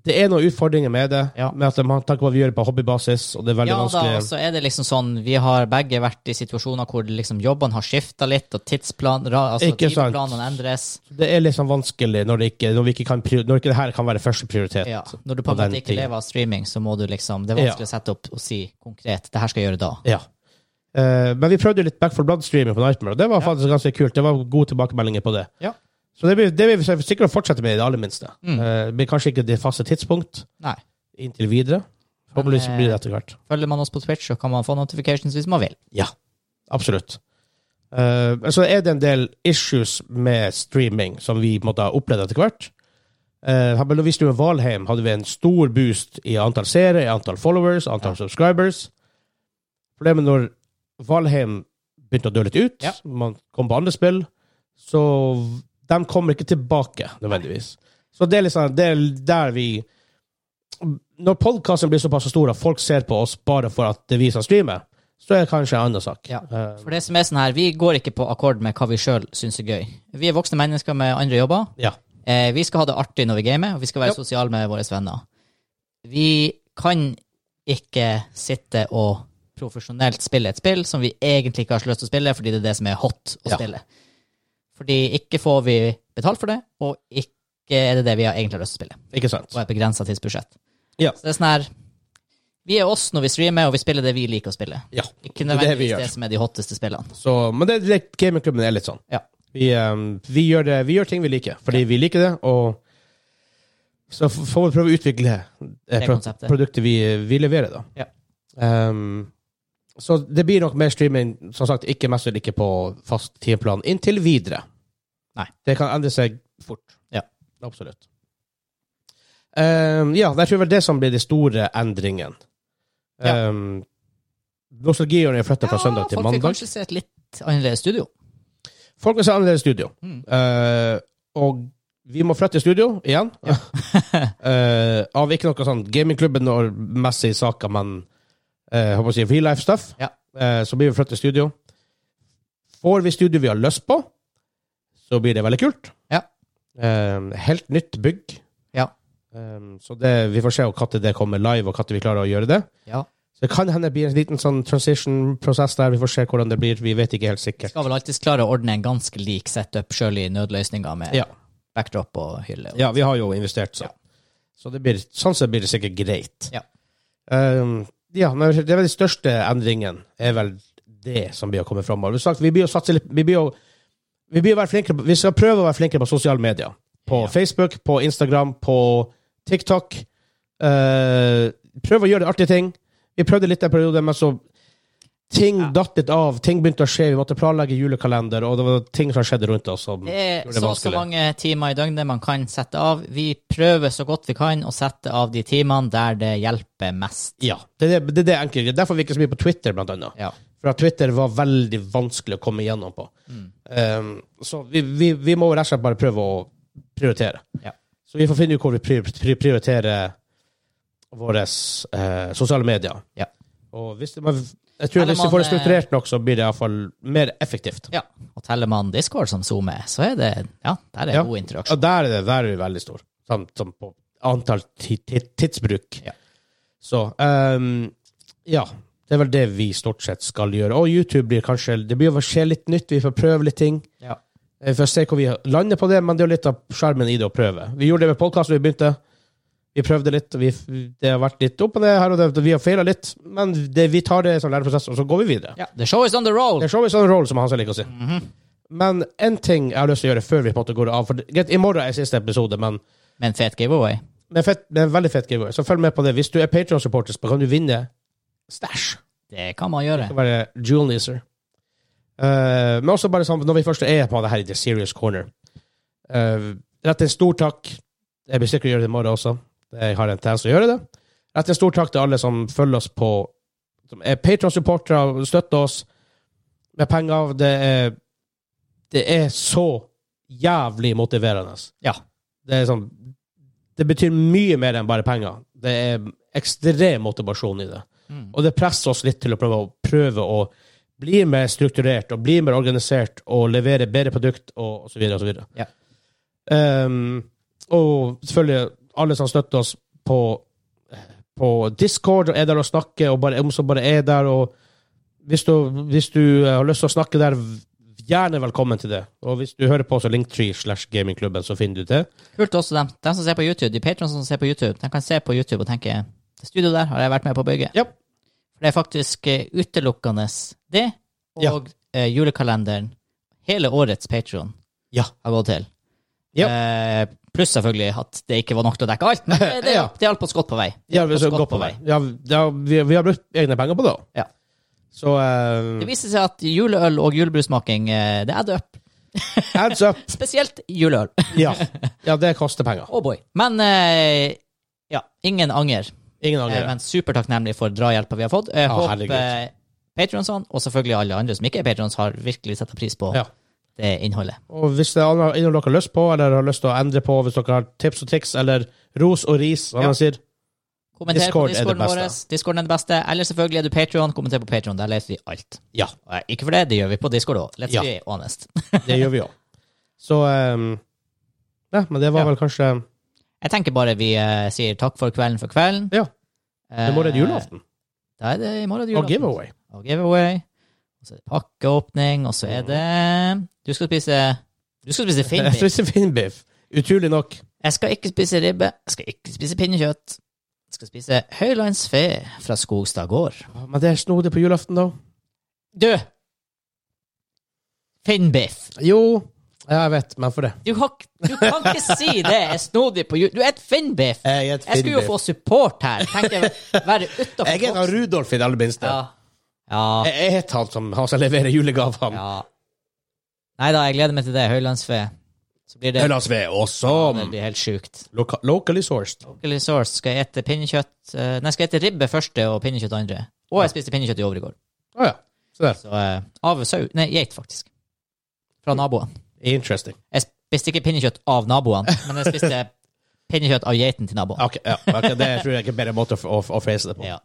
A: det er noen utfordringer med det,
B: Ja.
A: med at man tenker på hva vi gjør på hobbybasis, og det er veldig
B: ja da,
A: vanskelig.
B: og så er det liksom sånn Vi har begge vært i situasjoner hvor liksom jobbene har skifta litt, og tidsplan, ra, altså
A: Ikke sant.
B: tidsplanene endres.
A: Det er liksom vanskelig når, det ikke, når, vi ikke kan, prior- når ikke det her kan være første prioritet.
B: Ja. Når du på en
A: den
B: måte ikke
A: tiden.
B: lever av streaming, så må du liksom Det er vanskelig å sette opp og si konkret det her skal jeg gjøre da.
A: Ja. Eh, men vi prøvde jo litt Back for Blood-streaming på Nightmare, og det var faktisk ganske kult. Det var gode tilbakemeldinger på det.
B: Ja. Mm.
A: Så det vil, det vil vi sikkert fortsette med i det aller minste. Eh, men kanskje ikke det faste tidspunkt
B: Nei.
A: inntil videre. Forhåpentligvis
B: Men, eh,
A: blir det etter hvert.
B: Følger man oss på Twitch, så kan man få notifications hvis man vil.
A: Ja, absolutt. Eh, men så er det en del issues med streaming som vi måtte ha opplevd etter hvert. Uh, når vi streamet Valheim, hadde vi en stor boost i antall seere, i antall followers, antall subscribers. Problemet når Valheim begynte å dø litt ut,
B: Ja.
A: man kom på andre spill, så de kommer ikke tilbake nødvendigvis. Så det er liksom det er der vi Når podkasten blir såpass stor at folk ser på oss bare for at det er vi som streamer, så er det kanskje en annen sak.
B: Ja.
A: Eh,
B: For det som er sånn her, vi går ikke på akkord med hva vi sjøl syns er gøy. Vi er voksne mennesker med andre jobber.
A: ja.
B: Eh, vi skal ha det artig når vi gamer, og vi skal være
A: Ja.
B: sosiale med våre venner. Vi kan ikke sitte og profesjonelt spille et spill som vi egentlig ikke har så lyst til å spille, fordi det er det som er hot å
A: Ja.
B: spille. Fordi ikke får vi betalt for det, og ikke er det det vi har egentlig har lyst til å spille.
A: Ikke sant?
B: Og et begrensa tidsbudsjett.
A: Ja.
B: Så det er sånn her Vi er oss når vi streamer, og vi spiller det vi liker å spille.
A: Ja.
B: Ikke
A: Det er det vi
B: nødvendigvis
A: gjør.
B: det som er de hotteste spillene.
A: Så, men det, det, gamingklubben er litt sånn.
B: Ja.
A: Vi, eh, vi, gjør det, vi gjør ting vi liker, fordi vi liker det, og så f- får vi prøve å utvikle eh,
B: Det
A: pro
B: konseptet.
A: produktet vi, vi leverer, da.
B: Ja.
A: Ehm, så det blir nok mer streaming, som sagt, ikke mest vel ikke på fast tidsplan inntil videre.
B: Nei.
A: Det kan endre seg fort.
B: Ja.
A: Absolutt. Ehm, ja, jeg tror vel det som blir de store endringene.
B: Ja.
A: Um, Nostalgihjørnet er flytta fra søndag til
B: Folk vil
A: mandag.
B: kanskje se et litt annerledes studio.
A: Folk vil se annerledes studio.
B: Mm.
A: Eh, og vi må flytte studio igjen. Eh, av ikke noe sånn gamingklubben og messige saker, men eh, håper å si real life stuff.
B: Ja.
A: Eh, så blir vi flytte studio. Får vi studio vi har lyst på, så blir det veldig kult.
B: Ja.
A: Eh, helt nytt bygg.
B: Ja.
A: Eh, så det, vi får se når det kommer live, og når vi klarer å gjøre det.
B: Ja.
A: Så det kan hende det blir en liten sånn transition-prosess der. Vi får se hvordan det blir. Vi vet ikke helt sikkert.
B: Skal vel alltids klare å ordne en ganske lik setup sjøl i nødløsninger med
A: Ja.
B: backdrop og hylle.
A: Ja, vi har jo investert, så.
B: Ja.
A: Så det blir, sånn sett blir det sikkert greit.
B: Ja.
A: Ehm, ja, men det er vel de største endringene er vel det som blir å komme framover. Som sagt, Vi blir å satse litt Vi blir å vi blir å være flinkere på- Vi skal prøve å være flinkere på sosiale medier. På
B: Ja.
A: Facebook, på Instagram, på TikTok. Eh, prøve å gjøre artige ting. Vi prøvde litt en periode, men så Ting datt litt av, ting begynte å skje, vi måtte planlegge julekalender, og det var ting som skjedde rundt oss. Som,
B: Det er
A: Gjorde det
B: så og
A: vanskelig.
B: så mange timer i døgnet man kan sette av. Vi prøver så godt vi kan å sette av de timene der det hjelper mest.
A: ja, det er det, det, er det enkle. Det er Derfor vi ikke er så mye på Twitter, blant annet.
B: Ja.
A: For at Twitter var veldig vanskelig å komme igjennom på.
B: Mm.
A: Um, så vi, vi, vi må rett og slett bare prøve å prioritere.
B: Ja.
A: Så vi får finne ut hvor vi prior- prior- prioriterer våre eh, sosiale medier.
B: Ja.
A: Og hvis det, men jeg tror
B: Eller
A: hvis vi får det
B: man, eh,
A: strukturert nok, så blir det iallfall mer effektivt.
B: ja. Og teller man Discord som zoomer, så er det Ja, der er
A: Ja.
B: god interaksjon.
A: Og der er det der er vi veldig stor, sånn som på antall ti, ti, tidsbruk.
B: Ja.
A: Så ehm, ja. Det er vel det vi stort sett skal gjøre. Og YouTube blir kanskje Det blir å skje litt nytt, vi får prøve litt ting. Eh,
B: Ja.
A: Vi får se hvor vi lander på det, men det er jo litt av skjermen i det å prøve. Vi gjorde det med podkasten vi begynte. Vi prøvde litt, og vi, det har vært litt opp og ned her og der. Vi har feila litt, men det, vi tar det som læreprosess, og så går vi videre.
B: Ja. The show is on the roll! Mhm.
A: Det er show is on roll, som han selv liker å si. Men én ting jeg har lyst til å gjøre før vi på en måte går av for det, greit, I morgen er siste episode, men
B: Med en fet giveaway.
A: med, fett, med en veldig fett giveaway. Så følg med på det. Hvis du er Patrion-supporter, så kan du vinne stæsj.
B: Det kan man
A: Det
B: gjøre.
A: kan være Jewel Neezer. Eh, men også bare sånn, når vi først er på det her i The Serious Corner eh, Rett en stor takk. Jeg blir sikkert å gjøre det i morgen også. Jeg har en tendens til å gjøre det. Rett en stor takk til alle som følger oss på Som er Patron-supportere, støtter oss med penger. Det er, det er så jævlig motiverende.
B: Ja.
A: Det er sånn Det betyr mye mer enn bare penger. Det er ekstrem motivasjon i det.
B: Mm.
A: Og det presser oss litt til å prøve, å prøve å bli mer strukturert og bli mer organisert og levere bedre produkt og osv. Og, så videre.
B: Ja.
A: Ehm, og selvfølgelig alle som støtter oss på, på Discord og er der og snakker, og bare, om som bare er der. og hvis du, hvis du eh, har lyst til å snakke der, gjerne velkommen til det. Og hvis du hører på oss i Linktree slash gamingklubben, så finner du det.
B: Kult også dem. De som ser på YouTube, de patrons som ser på YouTube, de kan se på YouTube og tenke det studioet der har jeg vært med på å bygge.
A: Ja.
B: For det er faktisk eh, utelukkende det, og eh, julekalenderen, hele årets Patron,
A: Ja.
B: har gått til.
A: Ja.
B: Eh, pluss selvfølgelig at det ikke var nok til å dekke alt, men det, det,
A: Ja.
B: det hjalp oss godt på vei.
A: Ja, vi,
B: Oss
A: så,
B: godt
A: godt
B: på
A: på vei. Ja, ja, vi, vi har brukt egne penger på det. også.
B: Ja.
A: Så ehm,
B: Det viser seg at juleøl og julebrusmaking, eh, det adder opp.
A: Hands up!
B: Spesielt juleøl.
A: Ja. ja, det koster penger.
B: Oh boy. Men eh, ja, ingen anger.
A: Ingen
B: Eh,
A: angrer.
B: Men supertakknemlig for drahjelpa vi har fått. Jeg
A: Ja, Ah, herregud.
B: håper patronsene, og selvfølgelig alle andre som ikke er patrons, har virkelig satt pris på
A: Ja.
B: det innholdet.
A: Og hvis det er andre- en av dere har lyst på, eller har lyst til å endre på, hvis dere har tips og triks, eller ros og ris, hva
B: Ja.
A: man sier
B: Kommenter
A: Discord
B: på
A: er det
B: discorden
A: beste.
B: vår. Discorden er det beste. Eller selvfølgelig er du patron. Kommenter på patron. Der leser vi alt.
A: Ja.
B: Og, eh, Ikke for det, det gjør vi på discord òg. Let's
A: Ja.
B: be honest.
A: Det gjør vi jo. Så ehm, Ja, men det var
B: Ja.
A: vel kanskje
B: Jeg tenker bare vi eh, sier takk for kvelden for kvelden.
A: Ja.
B: Eh,
A: Det må være julaften.
B: Da er det i morgen er det
A: Og
B: julaften.
A: giveaway.
B: Og giveaway. Og så er det pakkeåpning, og så er
A: Mm.
B: det Du skal spise Du skal spise
A: Jeg
B: Finnbiff.
A: spiser Finnbiff. Utrolig nok.
B: Jeg skal ikke spise ribbe. Jeg skal ikke spise pinnekjøtt. Jeg skal spise høylandsfe fra Skogstad gård.
A: Men det er snodig på julaften, da.
B: Du! Finnbiff.
A: Jo, ja, jeg vet, men for det.
B: Du, har, ikke- du kan ikke si det er snodig på jul. Du er et finnbiff.
A: Jeg er et
B: Jeg skulle jo få support her. Tenk jeg være utafor
A: Jeg er da Rudolf i det aller minste.
B: Ja. ja.
A: Jeg jeg heter han som, han som leverer julegavene.
B: ja. Nei da, jeg gleder meg til det. Høylandsfe. Så blir det,
A: Ja. oss ved
B: det
A: awesome!
B: blir helt sjukt.
A: Loca locally sourced.
B: Broccoli sauce skal jeg ete pinnekjøtt eh, Nei, skal jeg ete ribbe første og pinnekjøtt andre. Og jeg spiste pinnekjøtt i overgård.
A: Å ja. Se der.
B: Så eh, av sau Nei, geit, faktisk. Fra naboene.
A: Interesting.
B: Jeg spiste ikke pinnekjøtt av naboene, men jeg spiste pinnekjøtt av geiten til naboen.
A: Ok, ja, ok, Det tror jeg er en bedre måte å, å, å face det på.
B: Ja.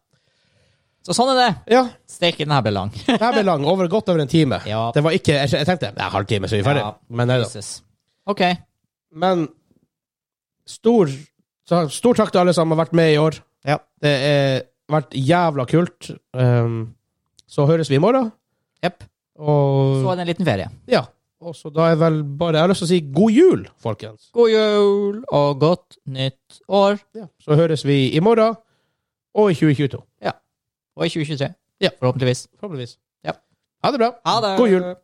B: Så sånn er det.
A: Ja,
B: Steike, den her ble lang.
A: det her ble lang. Over, godt over en time.
B: Ja.
A: Det var ikke, jeg, jeg tenkte en halvtime, så er vi ferdig.
B: Ja.
A: Men, nei da.
B: Jesus. OK.
A: Men stor, så, stor takk til alle som har vært med i år.
B: Ja.
A: Det har vært jævla kult. Um, så høres vi i morgen.
B: Jepp. Så
A: Og,
B: er det en liten ferie.
A: ja. og så da er vel bare Jeg har lyst til å si god jul, folkens.
B: God jul og godt nytt år.
A: Ja. Så høres vi i morgen og i 2022.
B: Og i 2023.
A: Ja.
B: Forhåpentligvis.
A: Forhåpentligvis.
B: Ja.
A: Ha det bra.
B: Ha det.
A: God jul.